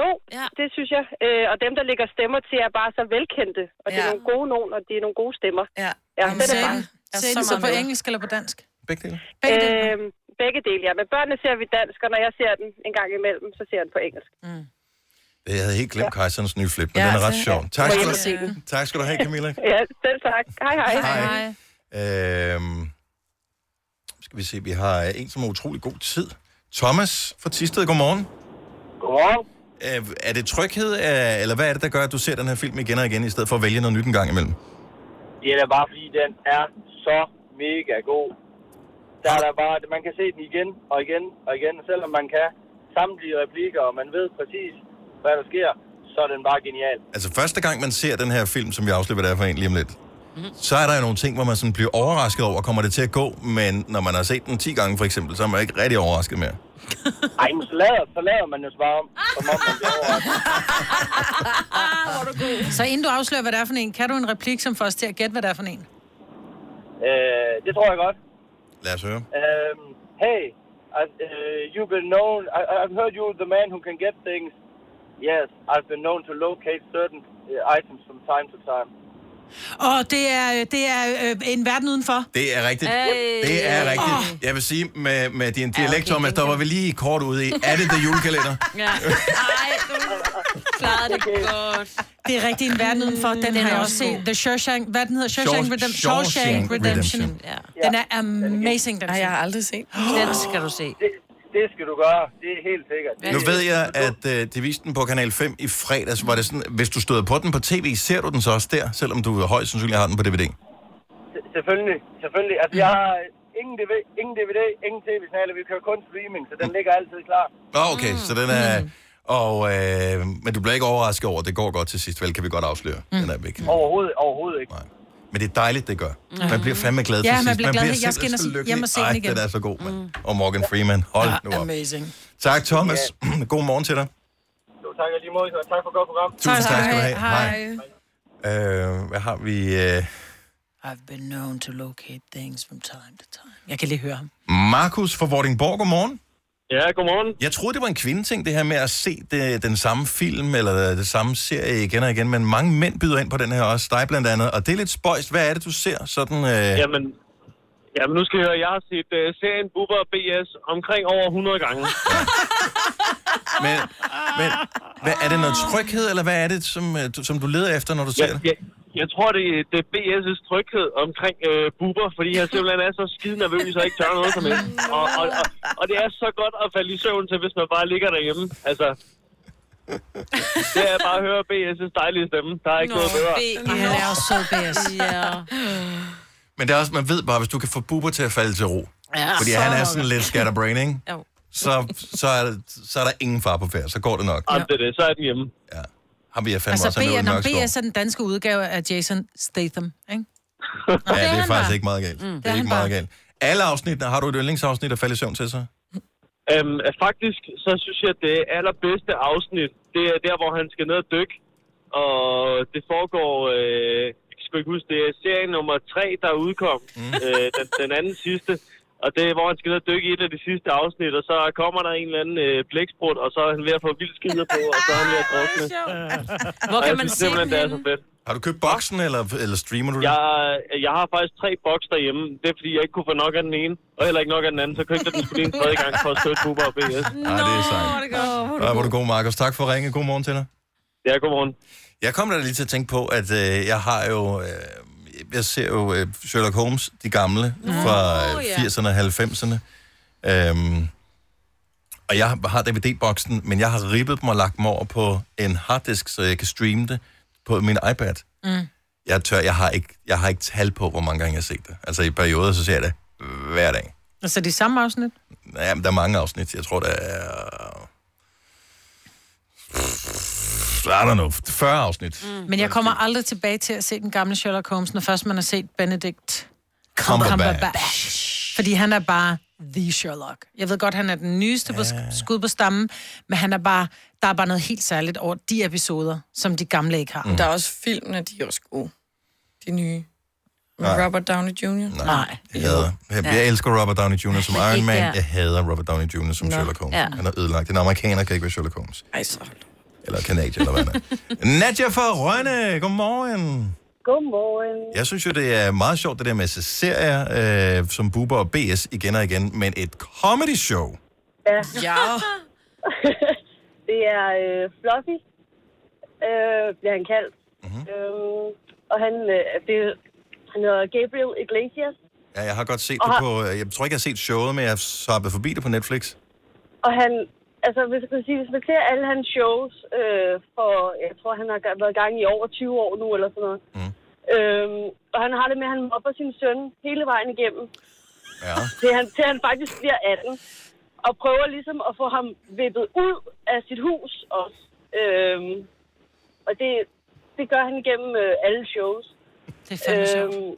Speaker 16: Jo, ja. det synes jeg. Øh, og dem, der lægger stemmer til, er bare så velkendte. Og det er nogle gode nogen, og de er nogle gode stemmer.
Speaker 4: Ja,
Speaker 16: ja
Speaker 2: Jamen,
Speaker 16: den er
Speaker 2: sagde
Speaker 16: bare...
Speaker 2: den- sagde den så på engelsk eller på dansk?
Speaker 1: Begge dele.
Speaker 2: Begge dele.
Speaker 16: Øhm, begge dele, ja. Men børnene ser vi dansk, og når jeg ser den en gang imellem, så ser jeg den på engelsk. Mm.
Speaker 1: Jeg havde helt glemt ja. Kejserens nye flip, men
Speaker 16: Ja,
Speaker 1: ja, den er ret
Speaker 16: det-
Speaker 1: sjov.
Speaker 16: ja.
Speaker 1: Tak
Speaker 16: Må
Speaker 1: skal,
Speaker 16: jeg
Speaker 1: du,
Speaker 16: se den?
Speaker 1: tak skal du have, Camilla.
Speaker 16: Ja, selv tak. Hej, hej.
Speaker 1: Hej. Øhm, skal vi se, vi har øh, en, som har utrolig god tid. Thomas fra Tisted, godmorgen.
Speaker 15: Godmorgen.
Speaker 1: Øh, er det tryghed, øh, eller hvad er det, der gør, at du ser den her film igen og igen, i stedet for at vælge noget nyt en gang imellem?
Speaker 15: Det er da bare fordi, den er så mega god. Der er der bare, man kan se den igen og igen og igen, selvom man kan samtlige replikker, og man ved præcis, hvad der sker, så er den bare genial.
Speaker 1: Altså første gang, man ser den her film, som vi afslipper der for en lige om lidt, så er der jo nogle ting, hvor man sådan bliver overrasket over, kommer det til at gå, men når man har set den 10 gange for eksempel, så er man ikke rigtig overrasket mere.
Speaker 15: Ej, men så lader, så lader man jo bare om, som om man bliver overrasket.
Speaker 2: Så inden du afslører, hvad det er for en, kan du en replik, som får os til at gætte, hvad det er for en?
Speaker 15: Øh, det tror jeg godt.
Speaker 1: Lad os høre.
Speaker 15: Um, hey, I, uh, you've been known. I, I- I've heard you're the man who can get things. Yes, I've been known to locate certain uh, items from time to time.
Speaker 2: Og det er, det er øh, en verden udenfor.
Speaker 1: Det er rigtigt. Det er rigtigt. Jeg vil sige, med, med din dialekt, Thomas, der var vi lige kort ude i, er det det julekalender?
Speaker 3: Ja. Ej, du klarede det godt.
Speaker 2: Det er rigtig en verden udenfor. Den, den har jeg også set. The Shawshank. Hvad den hedder? Shawshank,
Speaker 1: Shaw-
Speaker 2: Redemption.
Speaker 1: Shawshank
Speaker 2: Shawshank Redemption.
Speaker 1: Redemption.
Speaker 2: Ja. Den er amazing, den Nej, jeg
Speaker 4: har aldrig set.
Speaker 2: Den skal du se.
Speaker 15: Det, det skal du gøre. Det er helt sikkert. Det,
Speaker 1: Nu ved jeg, at øh, de viste den på Kanal 5 i fredags. Var det sådan, hvis du støder på den på tv, ser du den så også der, selvom du højst sandsynligt har den på DVD?
Speaker 15: Se- Selvfølgelig, selvfølgelig. Altså, jeg har ingen DVD, ingen, DVD, ingen tv-signaler. Vi kører kun streaming, så den ligger altid klar.
Speaker 1: Nå, okay,
Speaker 2: Mm.
Speaker 1: så den er... Og, øh, men du bliver ikke overrasket over, at det går godt til sidst, vel? Kan vi godt afsløre, mm. den er væk.
Speaker 15: Overhovedet, overhovedet ikke.
Speaker 1: Men det er dejligt, det gør.
Speaker 15: Mhm.
Speaker 1: Man bliver fandme glad til
Speaker 2: Mm. Ja,
Speaker 1: sidst.
Speaker 2: man bliver glad. Jeg skal
Speaker 1: simpelthen
Speaker 2: ind og se- hjem og
Speaker 1: så lykkelig.
Speaker 2: se den
Speaker 1: Ej,
Speaker 2: igen. Mm.
Speaker 1: den er så god, mand. Og Morgan Freeman, hold Ah, nu op.
Speaker 2: Amazing.
Speaker 1: Tak, Thomas. God morgen til dig.
Speaker 15: Så tak og lige måde, og tak for et godt program.
Speaker 1: Tusind Tak, tak tak. skal du have. Hej. Øh, hvad har vi? Øh,
Speaker 2: I've been known to locate things from time to time. Jeg kan lige høre ham.
Speaker 1: Markus fra Vordingborg, godmorgen.
Speaker 15: Ja, godmorgen.
Speaker 1: Jeg troede, det var en kvindeting, det her med at se det, den samme film eller det samme serie igen og igen, men mange mænd byder ind på den her også, dig blandt andet, og det er lidt spøjst. Hvad er det, du ser sådan... Øh...
Speaker 17: Jamen, jamen, nu skal jeg høre, jeg har set uh, serien Bubber BS omkring over 100 gange.
Speaker 1: Men, men hvad, er det noget tryghed, eller hvad er det, som, øh, du, som du leder efter, når du ser
Speaker 17: jeg,
Speaker 1: det?
Speaker 17: jeg, jeg tror, det, det er BS' tryghed omkring øh, Bubber, fordi han simpelthen er så skide nervøs og ikke tør noget som helst. Og, og, og, og det er så godt at falde i søvn til, hvis man bare ligger derhjemme. Altså, det er bare at høre BS' dejlige stemme. Der er ikke Nå, noget bedre.
Speaker 2: Han er også sød, BS. ja.
Speaker 1: Men det er også, man ved bare, hvis du kan få Bubber til at falde til ro,
Speaker 2: Ja,
Speaker 1: fordi
Speaker 2: så-
Speaker 1: han er sådan lidt scatterbrain, ikke?
Speaker 2: Jo.
Speaker 1: Så, så, er, der- så er der ingen far på færd, så går det nok.
Speaker 17: Jamen, det er det. Så er den hjemme.
Speaker 1: Ja. Ham vil jeg fandme
Speaker 2: Altså,
Speaker 1: også have med
Speaker 2: B,
Speaker 1: ud i
Speaker 2: når
Speaker 1: Mørkskov.
Speaker 2: BS er den danske udgave af Jason Statham, ikke?
Speaker 1: Ja, det er
Speaker 2: han
Speaker 1: faktisk
Speaker 2: bare.
Speaker 1: ikke meget galt.
Speaker 2: Mm.
Speaker 1: Det
Speaker 2: Det
Speaker 1: er
Speaker 2: er
Speaker 1: ikke meget galt. Alle afsnittene, har du et yndlingsafsnit at falde i søvn til så?
Speaker 17: Øhm, at faktisk, så synes jeg, at det allerbedste afsnit, det er der, hvor han skal ned og dykke. Og det foregår, øh, jeg kan sgu ikke huske, det er serie nummer 3, der udkom. Mm. Øh, den, den anden sidste. Og det er, hvor han skal ned og dykke i et af de sidste afsnit, og så kommer der en eller anden øh, blæksprut, og så er han ved at få vildt skider på, og så er han ved at drukne.
Speaker 3: Hvor
Speaker 17: Og jeg
Speaker 3: Ah, kan man
Speaker 17: synes
Speaker 3: se
Speaker 17: simpelthen,
Speaker 3: den
Speaker 17: det er
Speaker 3: henne?
Speaker 17: så fedt.
Speaker 1: Har du købt boksen, eller, eller streamer du det?
Speaker 17: Jeg, jeg har faktisk tre boks derhjemme. Det er, fordi jeg ikke kunne få nok af den ene, og heller ikke nok af den anden. Så købte jeg den skulle lige en tredje gang for at støtte Bubber og BS.
Speaker 1: Nej, det er sejt. Ja, hvor er du god, Markus. Tak for at ringe. God morgen til dig.
Speaker 17: Ja, god morgen.
Speaker 1: Jeg kom da lige til at tænke på, at øh, jeg har jo... Øh, jeg ser jo øh, Sherlock Holmes, de gamle,
Speaker 18: Nå,
Speaker 1: fra øh,
Speaker 18: ja.
Speaker 1: 80'erne og 90'erne. Øhm, og jeg har DVD-boksen, men jeg har ribbet dem og lagt dem over på en harddisk, så jeg kan streame det på min iPad.
Speaker 2: Mm.
Speaker 1: Jeg tør, jeg har ikke, jeg har ikke tal på, hvor mange gange jeg har set det. Altså i perioder, så ser jeg det hver dag.
Speaker 2: Altså de samme afsnit?
Speaker 1: Ja, men der er mange afsnit. Jeg tror, der er... I don't know, 40 afsnit. Mm.
Speaker 2: Men jeg kommer aldrig tilbage til at se den gamle Sherlock Holmes, når først man har set Benedict
Speaker 1: Cumberbatch.
Speaker 2: Cumberbatch. Fordi han er bare the Sherlock. Jeg ved godt, han er den nyeste på sk- skud på stammen, men han er bare, der er bare noget helt særligt over de episoder, som de gamle ikke har.
Speaker 4: Mm. Der er også filmene, de er også gode. De nye. Med
Speaker 1: Nej.
Speaker 4: Robert Downey Jr. Nej.
Speaker 2: Nej.
Speaker 1: Jeg, hader. Jeg, jeg elsker Robert Downey Jr. som
Speaker 4: Ikke
Speaker 1: Iron Man.
Speaker 4: der.
Speaker 1: Jeg hader Robert Downey Jr. som
Speaker 4: Nå,
Speaker 1: Sherlock Holmes.
Speaker 4: ja.
Speaker 1: Han er ødelagt. En amerikaner kan ikke være Sherlock Holmes.
Speaker 4: Ej, så
Speaker 1: Eller kanadier, eller hvad han er. Nadja fra Rønne, godmorgen.
Speaker 19: Godmorgen.
Speaker 1: Jeg synes jo, det er meget sjovt, det der med at se serier, øh, som Bubber og BS igen og igen, men et comedy show.
Speaker 19: Ja.
Speaker 4: ja.
Speaker 19: det er øh, Fluffy, øh, bliver han kaldt. Mm-hmm. Øhm, og han, øh, det, han hedder Gabriel Iglesias,
Speaker 1: Ja, jeg har godt set
Speaker 19: Og
Speaker 1: det
Speaker 19: har-
Speaker 1: på... øh, Jeg tror ikke, jeg har set showet, men jeg har sappet forbi det på Netflix.
Speaker 19: Øh. og han, altså hvis jeg kan sige, hvis man ser alle hans shows, øh, for jeg tror, han har ga- været i gang i over 20 år nu, eller sådan noget. Mm. Øhm, og han har det med, at han mobber sin søn hele vejen igennem.
Speaker 1: Ja.
Speaker 19: Til han, til han faktisk bliver 18. Og prøver ligesom at få ham vippet ud af sit hus også. Øhm, og det, det gør han igennem øh, alle shows. Øh,
Speaker 2: Det er fandme sjovt.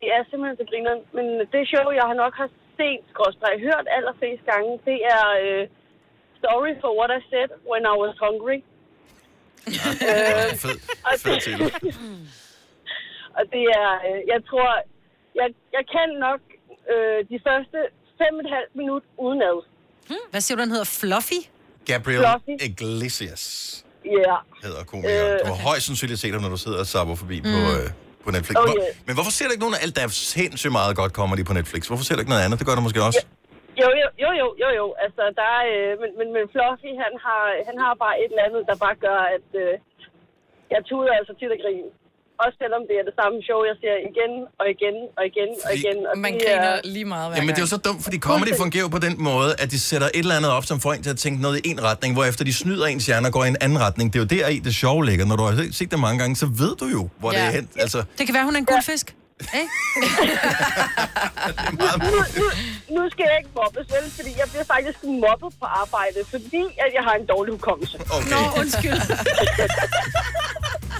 Speaker 19: Det er simpelthen så griner. Men det show, jeg har nok har set, skråstreg, hørt allerflest gange, det er øh, Story for What I Said When I Was Hungry. øh, og
Speaker 1: fed titel.
Speaker 19: og det er, øh, jeg tror, jeg, jeg kan nok øh, de første fem og et halvt minut udenad.
Speaker 2: Hvad siger du, han hedder? Fluffy?
Speaker 1: Gabriel
Speaker 19: Fluffy.
Speaker 1: Iglesias
Speaker 19: Ja.
Speaker 1: hedder komikeren.
Speaker 19: Øh.
Speaker 1: Du har højst sandsynligt set ham, når du sidder og sapper forbi mm.
Speaker 19: Mm.
Speaker 1: på, øh, på Netflix.
Speaker 19: Oh,
Speaker 1: Hvor-
Speaker 19: yeah.
Speaker 1: Men hvorfor ser du ikke nogen af alt, der er sindssygt meget godt comedy på Netflix? Hvorfor ser du ikke noget andet? Det gør du måske også.
Speaker 19: Jo, jo, jo, jo, jo, jo. Altså, der er, øh, men, men, men Fluffy, han har, han har bare et eller andet, der bare gør, at øh, jeg tuder altså tit og grin. Også selvom det er det samme show, jeg ser igen og igen og igen og igen. Og
Speaker 4: Man
Speaker 19: det
Speaker 4: griner
Speaker 19: er,
Speaker 4: lige meget hver
Speaker 1: Jamen, det er jo
Speaker 4: gang.
Speaker 1: så dumt, fordi comedy fungerer jo på den måde, at de sætter et eller andet op, som får en til at tænke noget i en retning, hvorefter de snyder ens hjerne og går i en anden retning. Det er jo der i det sjove ligger. Når du har set det mange gange, så ved du jo, hvor ja. det er hen. Altså,
Speaker 2: Det kan være, hun er en guldfisk. Ikke?
Speaker 19: nu, nu, nu skal jeg ikke mobbes, vel? Fordi jeg bliver faktisk mobbet på arbejde, fordi at jeg har en dårlig hukommelse.
Speaker 1: Okay. Nå,
Speaker 2: undskyld.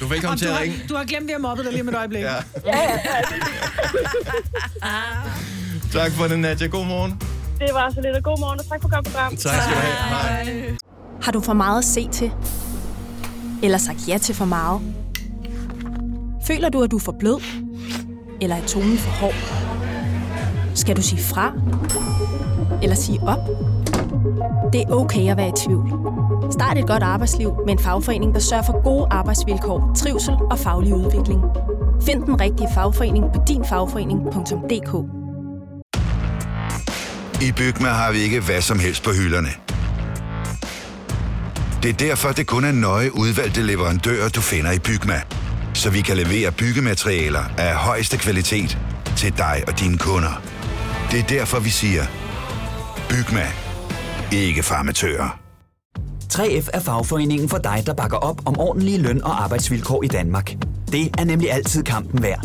Speaker 1: du er velkommen
Speaker 2: Og
Speaker 1: til
Speaker 2: du,
Speaker 1: at
Speaker 2: har,
Speaker 1: ringe.
Speaker 2: du har glemt, at jeg mobbede dig lige med et øjeblik.
Speaker 1: Ja.
Speaker 19: Ja, ja,
Speaker 1: Tak for det, Nadia. God morgen.
Speaker 19: det var så lidt. Og god morgen, og tak for godt program.
Speaker 1: Tak skal du have.
Speaker 19: Hej.
Speaker 20: Har du for meget at se til? Eller sagt ja til for meget? Føler du, at du er for blød? Eller er tonen for hård? Skal du sige fra? Eller sige op? Det er okay at være i tvivl. Start et godt arbejdsliv med en fagforening, der sørger for gode arbejdsvilkår, trivsel og faglig udvikling. Find den rigtige fagforening på dinfagforening.dk
Speaker 21: I Bygma har vi ikke hvad som helst på hylderne. Det er derfor, det kun er nøje udvalgte leverandører, du finder i Bygma. Så vi kan levere byggematerialer af højeste kvalitet til dig og dine kunder. Det er derfor, vi siger, Bygma. Ikke farmatører.
Speaker 22: 3F er fagforeningen for dig, der bakker op om ordentlige løn- og arbejdsvilkår i Danmark. Det er nemlig altid kampen værd.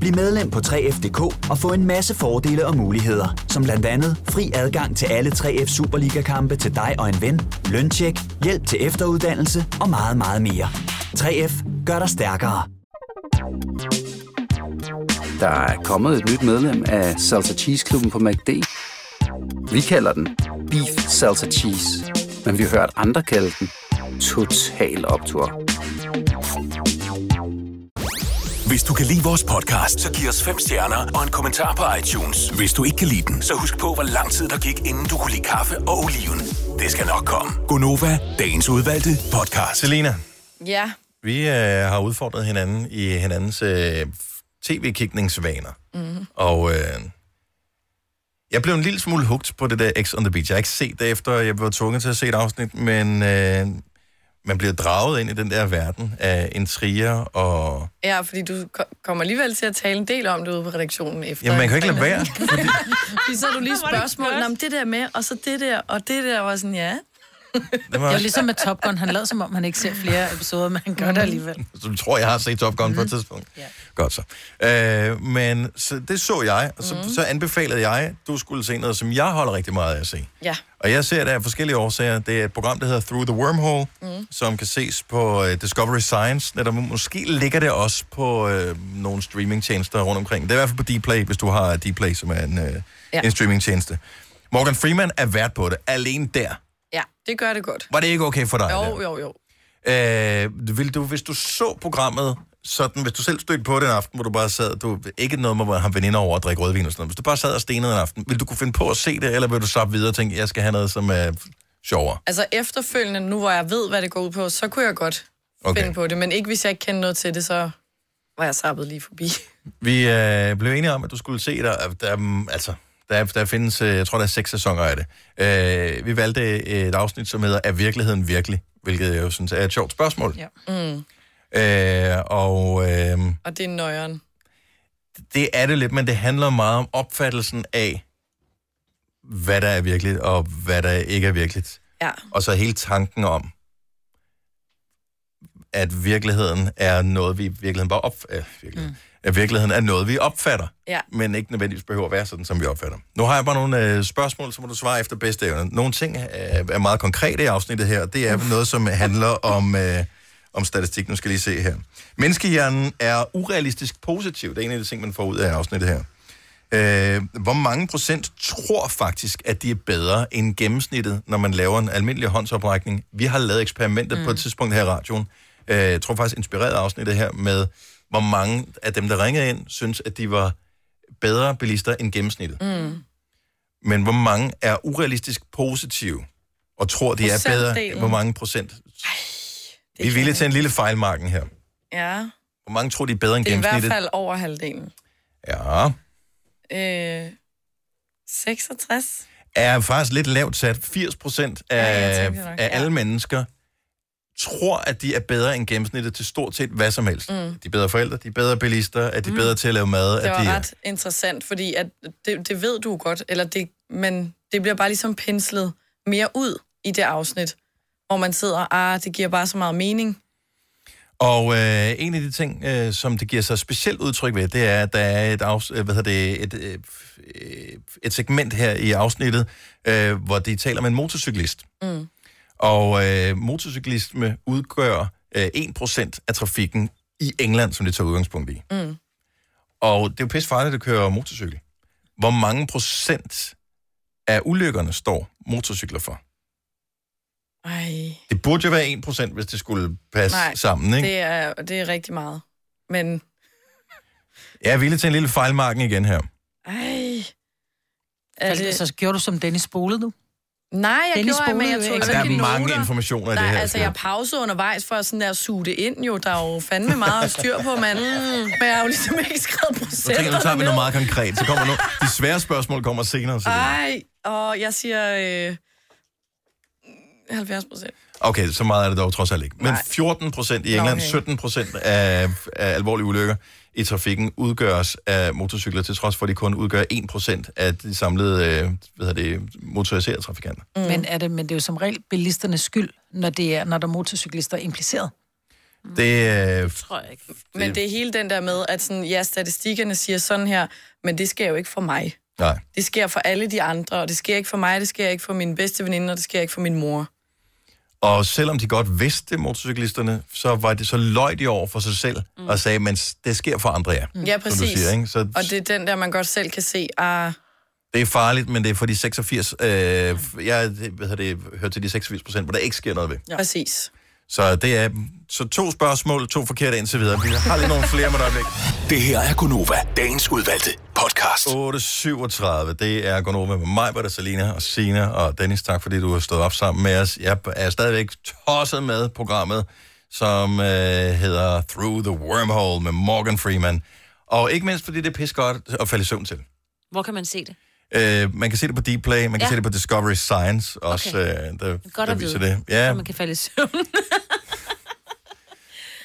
Speaker 22: Bliv medlem på 3F.dk og få en masse fordele og muligheder, som blandt andet fri adgang til alle 3F Superliga-kampe til dig og en ven, løntjek, hjælp til efteruddannelse og meget, meget mere. 3F gør dig stærkere.
Speaker 23: Der er kommet et nyt medlem af Salsa Cheese Klubben på MACD. Vi kalder den Beef Salsa Cheese, men vi har hørt andre kalde den Total Optor.
Speaker 14: Hvis du kan lide vores podcast, så giv os fem stjerner og en kommentar på iTunes. Hvis du ikke kan lide den, så husk på, hvor lang tid der gik, inden du kunne lide kaffe og oliven. Det skal nok komme.
Speaker 21: Gonova, dagens udvalgte podcast.
Speaker 1: Selina,
Speaker 4: Ja.
Speaker 1: Vi øh, har udfordret hinanden i hinandens øh, tv-kikningsvaner.
Speaker 6: Mm.
Speaker 1: Og øh, jeg blev en lille smule hooked på det der X on the Beach. Jeg har ikke set det efter, jeg var tvunget til at se et afsnit, men øh, man bliver draget ind i den der verden af intriger og...
Speaker 4: Ja, fordi du ko- kommer alligevel til at tale en del om det ude på redaktionen efter.
Speaker 1: Jamen, man kan jo ikke lade være.
Speaker 4: Fordi så er du lige spørgsmål om det der med, og så det der, og det der, var sådan, ja.
Speaker 1: Det
Speaker 2: Det
Speaker 1: var,
Speaker 2: er jo ligesom med Top Gun. Han lader som om, han ikke ser flere episoder, men han gør det alligevel.
Speaker 1: Så du tror, jeg har set Top Gun mm. på et tidspunkt.
Speaker 2: Ja.
Speaker 1: Godt så. Øh, men så, det så jeg, og så, mm. så anbefalede jeg, du skulle se noget, som jeg holder rigtig meget af at se.
Speaker 4: Ja.
Speaker 1: Og jeg ser det af forskellige årsager. Det er et program, der hedder Through the Wormhole, mm. som kan ses på øh, Discovery Science. Netop, måske ligger det også på øh, nogle streamingtjenester rundt omkring. Det er i hvert fald på Dplay, hvis du har Dplay, som er en, øh,
Speaker 4: Ja.
Speaker 1: ja. en streamingtjeneste. Morgan Freeman er vært på det. Alene der.
Speaker 4: Ja, det gør det godt.
Speaker 1: Var det ikke okay for dig? det?
Speaker 4: Jo, jo, jo.
Speaker 1: Øh, vil du, hvis du så programmet sådan, hvis du selv stødte på den aften, hvor du bare sad, du ikke noget med, hvor han veninder over at drikke rødvin og sådan noget, hvis du bare sad og stenede en aften, vil du kunne finde på at se det, eller vil du slappe videre og tænke, jeg skal have noget, som er sjovere?
Speaker 4: Altså efterfølgende, nu hvor jeg ved, hvad det går ud på, så kunne jeg godt okay. finde på det. Men ikke hvis jeg ikke kendte noget til det, så var jeg sappet lige forbi.
Speaker 1: Vi øh, blev enige om, at du skulle se der, der mm, altså, der, der findes, øh, jeg tror, der er seks sæsoner af det. Øh, vi valgte et afsnit, som hedder Er virkeligheden virkelig? Hvilket jeg jo synes er et sjovt spørgsmål.
Speaker 2: Ja.
Speaker 4: Mm.
Speaker 1: Øh, og øh,
Speaker 4: Og det er nøjeren.
Speaker 1: det er det lidt, men det handler meget om opfattelsen af, hvad der er virkeligt, og hvad der ikke er virkeligt.
Speaker 4: Ja.
Speaker 1: Og så hele tanken om, at virkeligheden er noget, vi i virkeligheden bare opf- øh, virkeligheden. Mm. At virkeligheden er noget, vi opfatter,
Speaker 4: Ja.
Speaker 1: men ikke nødvendigvis behøver at være sådan, som vi opfatter. Nu har jeg bare nogle øh, spørgsmål, så må du svare efter bedste evne. Nogle ting øh, er meget konkrete i afsnittet her. Det er noget, som handler om, øh, om statistik. Nu skal jeg lige se her. Menneskehjernen er urealistisk positiv. Det er en af de ting, man får ud af afsnittet her. Øh, hvor mange procent tror faktisk, at de er bedre end gennemsnittet, når man laver en almindelig håndsoprækning? Vi har lavet eksperimentet mm. på et tidspunkt her i radioen. Øh, jeg tror faktisk, inspireret af afsnittet her med, hvor mange af dem, der ringede ind, synes, at de var bedre bilister end gennemsnittet.
Speaker 6: Mm.
Speaker 1: Men hvor mange er urealistisk positive og tror, de er bedre?
Speaker 4: Procentdelen.
Speaker 1: Hvor mange procent? Vi er villige til en lille fejlmarken her.
Speaker 4: Ja.
Speaker 1: Hvor mange tror, de er bedre end
Speaker 4: Det er i hvert
Speaker 1: gennemsnittet?
Speaker 4: fald over halvdelen.
Speaker 1: Ja.
Speaker 4: Øh, 66?
Speaker 1: er faktisk lidt lavt sat. 80 procent
Speaker 4: Ja, jeg
Speaker 1: af,
Speaker 4: tænkte
Speaker 1: ja,
Speaker 4: nok,
Speaker 1: af alle mennesker tror, at de er bedre end gennemsnittet til stort set hvad som helst. Mm. De er bedre forældre, de er bedre bilister, er de mm. bedre til at lave mad.
Speaker 4: Det
Speaker 1: at de
Speaker 4: var
Speaker 1: er-
Speaker 4: ret interessant, fordi at det, det ved du godt, eller det, men det bliver bare ligesom penslet mere ud i det afsnit, hvor man sidder, ah, det giver bare så meget mening.
Speaker 1: Og øh, en af de ting, øh, som det giver sig specielt udtryk ved, det er, at der er et, afs- øh, hvad hedder det, et, øh, øh, et segment her i afsnittet, øh, hvor de taler med en motorcyklist.
Speaker 6: Mm.
Speaker 1: Og øh, motorcyklisme udgør øh, 1% af trafikken i England, som det tager udgangspunkt i.
Speaker 6: Mm.
Speaker 1: Og det er jo pisse farligt at køre motorcykel. Hvor mange procent af ulykkerne står motorcykler for?
Speaker 4: Ej,
Speaker 1: Det burde jo være 1 procent, hvis det skulle passe
Speaker 4: nej,
Speaker 1: sammen, ikke?
Speaker 4: Det, er, det er rigtig meget. Men,
Speaker 1: Jeg er villig til en lille fejlmarken igen her.
Speaker 4: ej...
Speaker 2: det... Altså, Så gjorde du som Dennis Spolede, du?
Speaker 4: Nej, jeg
Speaker 2: Dennis
Speaker 4: gjorde, men
Speaker 2: spolede
Speaker 4: jeg
Speaker 2: jo
Speaker 4: tog
Speaker 2: ikke.
Speaker 1: Altså, der
Speaker 4: ikke
Speaker 1: er mange
Speaker 4: noter.
Speaker 1: informationer i
Speaker 4: Nej,
Speaker 1: det her.
Speaker 4: altså jeg pausede undervejs for sådan der at suge det ind jo. Der er jo fandme meget at styr på, mand. Men jeg har jo ligesom ikke skrevet
Speaker 1: Nu tænker jeg, nu
Speaker 4: procenterne
Speaker 1: tager vi
Speaker 4: ned.
Speaker 1: noget meget konkret. Så kommer nu, de svære spørgsmål kommer senere. Så det.
Speaker 4: Ej, og jeg siger øh, 70 procent.
Speaker 1: Okay, så meget er det dog trods alt ikke. Men 14 procent i England,
Speaker 4: okay.
Speaker 1: 17 procent af, af alvorlige ulykker i trafikken udgøres af motorcykler, til trods for, at de kun udgør 1 procent af de samlede øh, hvad hedder det, motoriserede trafikanter.
Speaker 2: Mm. Men, er det, men det er jo som regel bilisternes skyld, når, det er, når der er motorcyklister impliceret.
Speaker 1: Det, øh,
Speaker 4: Mm. Tror jeg ikke. Men det er hele den der med, at sådan, ja, statistikkerne siger sådan her, men det sker jo ikke for mig.
Speaker 1: nej.
Speaker 4: Det sker for alle de andre, og det sker ikke for mig, det sker ikke for min bedste veninde, og det sker ikke for min mor.
Speaker 1: Og selvom de godt vidste, motorcyklisterne, så var det så løj de over for sig selv mm. og sagde, men det sker for andre, ja.
Speaker 4: Ja,
Speaker 1: Som du
Speaker 4: præcis.
Speaker 1: siger, ikke? Så
Speaker 4: Og det er den der, man godt selv kan se, ah,
Speaker 1: det er farligt, men det er for de 86... Øh, jeg hvad hedder det, hører til de 86 procent, hvor der ikke sker noget ved.
Speaker 4: ja. præcis.
Speaker 1: Så det er så to spørgsmål, to forkerte indtil videre. Vi har lige nogle flere med dig væk.
Speaker 14: Det her er Gunova, dagens udvalgte podcast.
Speaker 1: 8.37, det er Gonova med mig, Britta, Salina og Sina og Dennis. Tak fordi du har stået op sammen med os. Jeg er stadigvæk tosset med programmet, som øh, hedder Through the Wormhole med Morgan Freeman. Og ikke mindst, fordi det er pis godt at falde i søvn til.
Speaker 3: Hvor kan man se det?
Speaker 1: Øh, man kan se det på Dplay, man kan
Speaker 3: Ja.
Speaker 1: ja. se det på Discovery Science også, okay. øh, der,
Speaker 3: Godt
Speaker 1: der
Speaker 3: at
Speaker 1: viser
Speaker 3: vide,
Speaker 1: det. Ja,
Speaker 3: så man kan falde i søvn.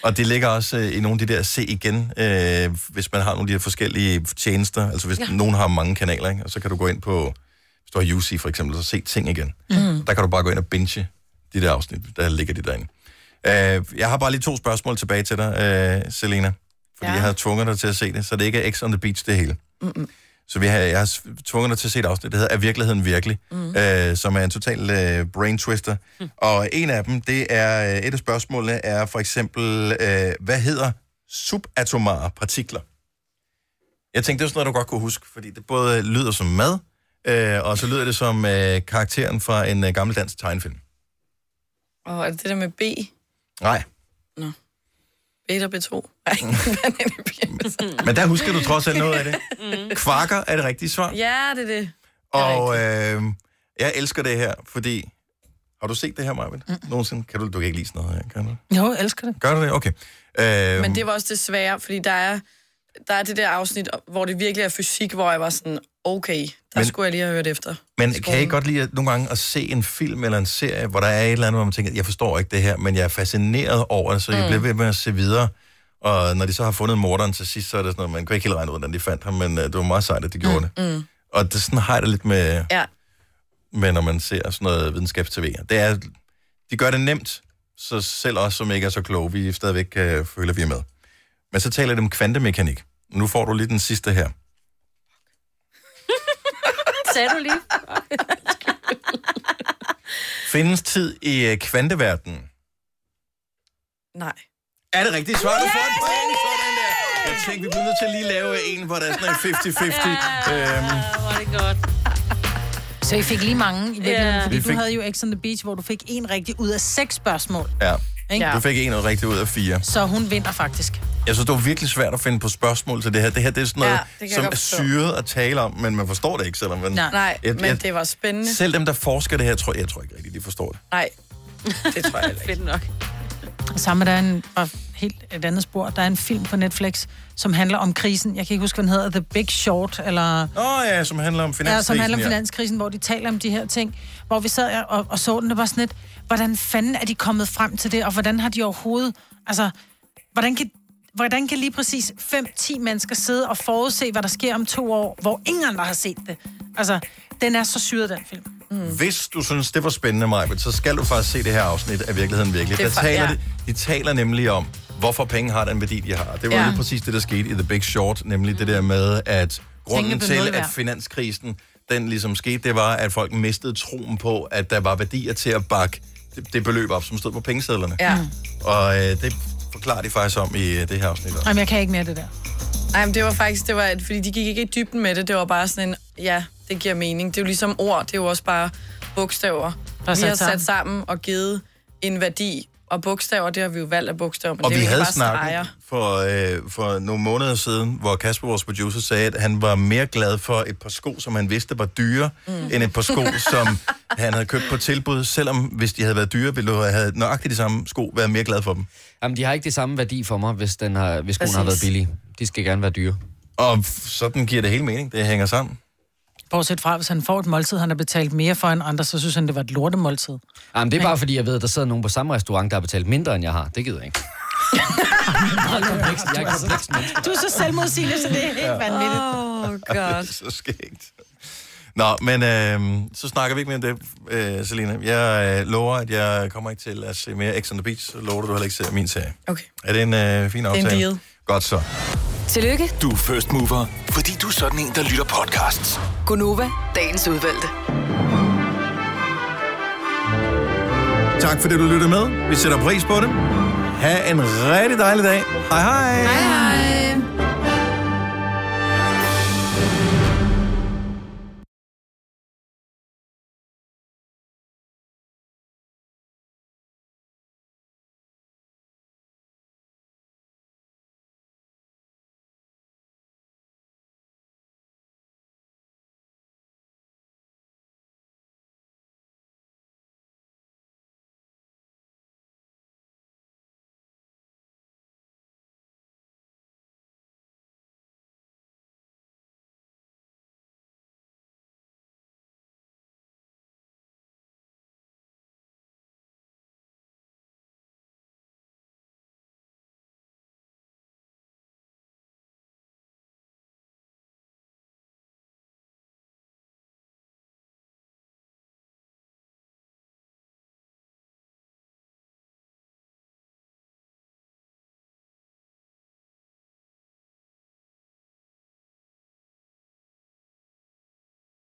Speaker 1: Og det ligger også øh, i nogle af de der se igen, øh, hvis man har nogle af de der forskellige tjenester. Altså hvis
Speaker 6: Ja.
Speaker 1: ja. nogen har mange kanaler, ikke? og så kan du gå ind på, hvis du har UC for eksempel, så se ting igen.
Speaker 6: Mm.
Speaker 1: Der kan du bare gå ind og binge de der afsnit, der ligger de derinde. Øh, jeg har bare lige to spørgsmål tilbage til dig, øh, Selena. Fordi ja. jeg har tvunget dig til at se det, så det ikke er X on the Beach det hele.
Speaker 4: Mm-mm.
Speaker 1: Så vi har, jeg har s- tvunget dig til at se et afsnit, der hedder Er virkeligheden virkelig? Mm. Øh, som er en total øh, brain twister. Mm. Og en af dem, det er, øh, et af spørgsmålene er for eksempel, øh, hvad hedder subatomare partikler? Jeg tænkte, det er sådan noget, du godt kunne huske, fordi det både lyder som mad, øh, og så lyder det som øh, karakteren fra en øh, gammel dansk tegnefilm.
Speaker 4: Og er det det der med B?
Speaker 1: Nej,
Speaker 4: Beta B2? Ej, hvad er det, B2?
Speaker 1: men der husker du trods alt noget af det. Kvarker er det rigtige svar.
Speaker 4: Ja, det er det.
Speaker 1: Og øh, jeg elsker det her, fordi... Har du set det her, Marvind? Mm. Nogensinde? Kan du, du kan ikke lide sådan noget her, kan du?
Speaker 2: Jo, jeg elsker det.
Speaker 1: Gør du det? Okay. Øh,
Speaker 4: Men det var også det svære, fordi der er, der er det der afsnit, hvor det virkelig er fysik, hvor jeg var sådan, okay, der
Speaker 1: Men-
Speaker 4: men, skulle jeg lige have hørt efter.
Speaker 1: men kan I godt lide at, nogle gange at se en film eller en serie, hvor der er et eller andet, hvor man tænker, jeg forstår ikke det her, men jeg er fascineret over det, så jeg
Speaker 6: Mm.
Speaker 1: bliver ved med at se videre. Og når de så har fundet morderen til sidst, så er det sådan noget, man kan ikke helt regne ud, hvordan de fandt ham, men øh, det var meget sejt, at de gjorde mm. det.
Speaker 4: Mm.
Speaker 1: Og det sådan har jeg det lidt med,
Speaker 4: Ja.
Speaker 1: med, når man ser sådan noget videnskabstv. Det er, de gør det nemt, så selv os, som ikke er så kloge, vi stadigvæk kan føle, at vi er med. Men så taler de om kvantemekanik. Nu får du lige den sidste her.
Speaker 3: Sagde du lige?
Speaker 1: Findes tid i øh, kvanteverdenen?
Speaker 4: Nej.
Speaker 1: Er det rigtigt svar? Du får et point for den der. Jeg tænkte, vi bliver nødt til at lige lave en, hvor der er sådan en 50-50. Øhm,
Speaker 3: Hvor er det godt.
Speaker 2: Så I fik lige mange i virkeligheden,
Speaker 1: Ja.
Speaker 2: fordi
Speaker 1: Vi
Speaker 2: du
Speaker 1: fik-
Speaker 2: havde jo X on the Beach, hvor du fik en rigtig ud af seks spørgsmål. Ikke?
Speaker 1: ja. Du fik en rigtig ud af fire.
Speaker 2: Så hun vinder faktisk.
Speaker 1: Jeg synes, det var virkelig svært at finde på spørgsmål til det her. Det her det er sådan noget,
Speaker 2: Ja,
Speaker 1: ja,
Speaker 2: det kan
Speaker 1: som
Speaker 2: jeg
Speaker 1: er
Speaker 2: godt forstå.
Speaker 1: syret at tale om, men man forstår det ikke, selvom man...
Speaker 4: Nej, Nej men det var spændende.
Speaker 1: Selv dem, der forsker det her, tror jeg, tror ikke rigtigt, de forstår det.
Speaker 4: Nej, det tror jeg ikke.
Speaker 3: Fedt nok.
Speaker 2: Samme, der er en, og helt et andet spor. Der er en film på Netflix, som handler om krisen. Jeg kan ikke huske, hvad den hedder. The Big Short, eller...
Speaker 1: Åh oh, ja, som handler om finanskrisen.
Speaker 2: Ja, som handler om
Speaker 1: ja.
Speaker 2: finanskrisen, hvor de taler om de her ting. Hvor vi sad og, og så den, det var sådan lidt, hvordan fanden er de kommet frem til det, og hvordan har de overhovedet... Altså, hvordan kan, hvordan kan lige præcis 5-10 mennesker sidde og forudse, hvad der sker om to år, hvor ingen andre har set det? Altså, den er så syret, den film.
Speaker 1: Hvis du synes, det var spændende, Maja, så skal du faktisk se det her afsnit af Virkeligheden Virkelig.
Speaker 2: Det
Speaker 1: Der
Speaker 2: er fra-
Speaker 1: taler
Speaker 2: ja.
Speaker 1: de, de taler nemlig om, hvorfor penge har den værdi, de har. Det var
Speaker 6: Ja.
Speaker 1: ja. lige præcis det, der skete i The Big Short, nemlig det der med, at grunden
Speaker 6: blev
Speaker 1: til,
Speaker 6: nul
Speaker 1: at
Speaker 6: værd.
Speaker 1: finanskrisen den ligesom skete, det var, at folk mistede troen på, at der var værdier til at bakke det, det beløb op, som stod på pengesedlerne.
Speaker 4: Ja.
Speaker 1: Og øh, det forklarer de faktisk om i øh, det her afsnit også.
Speaker 2: Jamen, jeg kan ikke mere det der.
Speaker 4: Nej, men det var faktisk, det var, at- fordi de gik ikke i dybden med det. Det var bare sådan en, ja, det giver mening. Det er jo ligesom ord, det er jo også bare bogstaver.
Speaker 2: Bare
Speaker 4: vi
Speaker 2: sat
Speaker 4: har
Speaker 2: sammen.
Speaker 4: sat sammen og givet en værdi. Og bogstaver, det har vi jo valgt af bogstaver, men
Speaker 1: og
Speaker 4: det er
Speaker 1: vi
Speaker 4: jo
Speaker 1: havde
Speaker 4: bare streger.
Speaker 1: snakket for, øh, for nogle måneder siden, hvor Kasper, vores producer, sagde, at han var mere glad for et par sko, som han vidste var dyre, mm. end et par sko, som han havde købt på tilbud, selvom hvis de havde været dyre, ville du have nøjagtigt de samme sko været mere glad for dem.
Speaker 5: Jamen, de har ikke det samme værdi for mig, hvis, den har, hvis skoen har været
Speaker 1: Præcis.
Speaker 5: billig. De skal gerne være dyre.
Speaker 1: Og sådan giver det hele mening. Det hænger sammen.
Speaker 2: Bortset fra, hvis han får et måltid, han har betalt mere for end andre, så synes han, det var et lortemåltid.
Speaker 5: Jamen, det er bare fordi, jeg ved, at der sidder nogen på samme restaurant, der har betalt mindre, end jeg har. Det gider jeg ikke. Jeg er kompleks
Speaker 2: Du er så selvmodsigende, så det er helt
Speaker 1: Ja.
Speaker 2: vanvittigt.
Speaker 4: Oh,
Speaker 1: Det er så skægt. Nå, men øh, så snakker vi ikke mere om det, øh, Selina. Jeg øh, lover, at jeg kommer ikke til at se mere X on the Beach, så lover du, du heller ikke ser min serie.
Speaker 4: Okay.
Speaker 1: Er det en øh, fin
Speaker 14: er en
Speaker 1: aftale?
Speaker 14: deal.
Speaker 1: Godt så.
Speaker 14: Tillykke. Du er first mover, fordi du er sådan en, der lytter podcasts.
Speaker 9: Gunova, dagens udvalgte.
Speaker 1: Tak fordi du lyttede med. Vi sætter pris på det. Ha' en rigtig dejlig dag. Hej hej. Hej hej.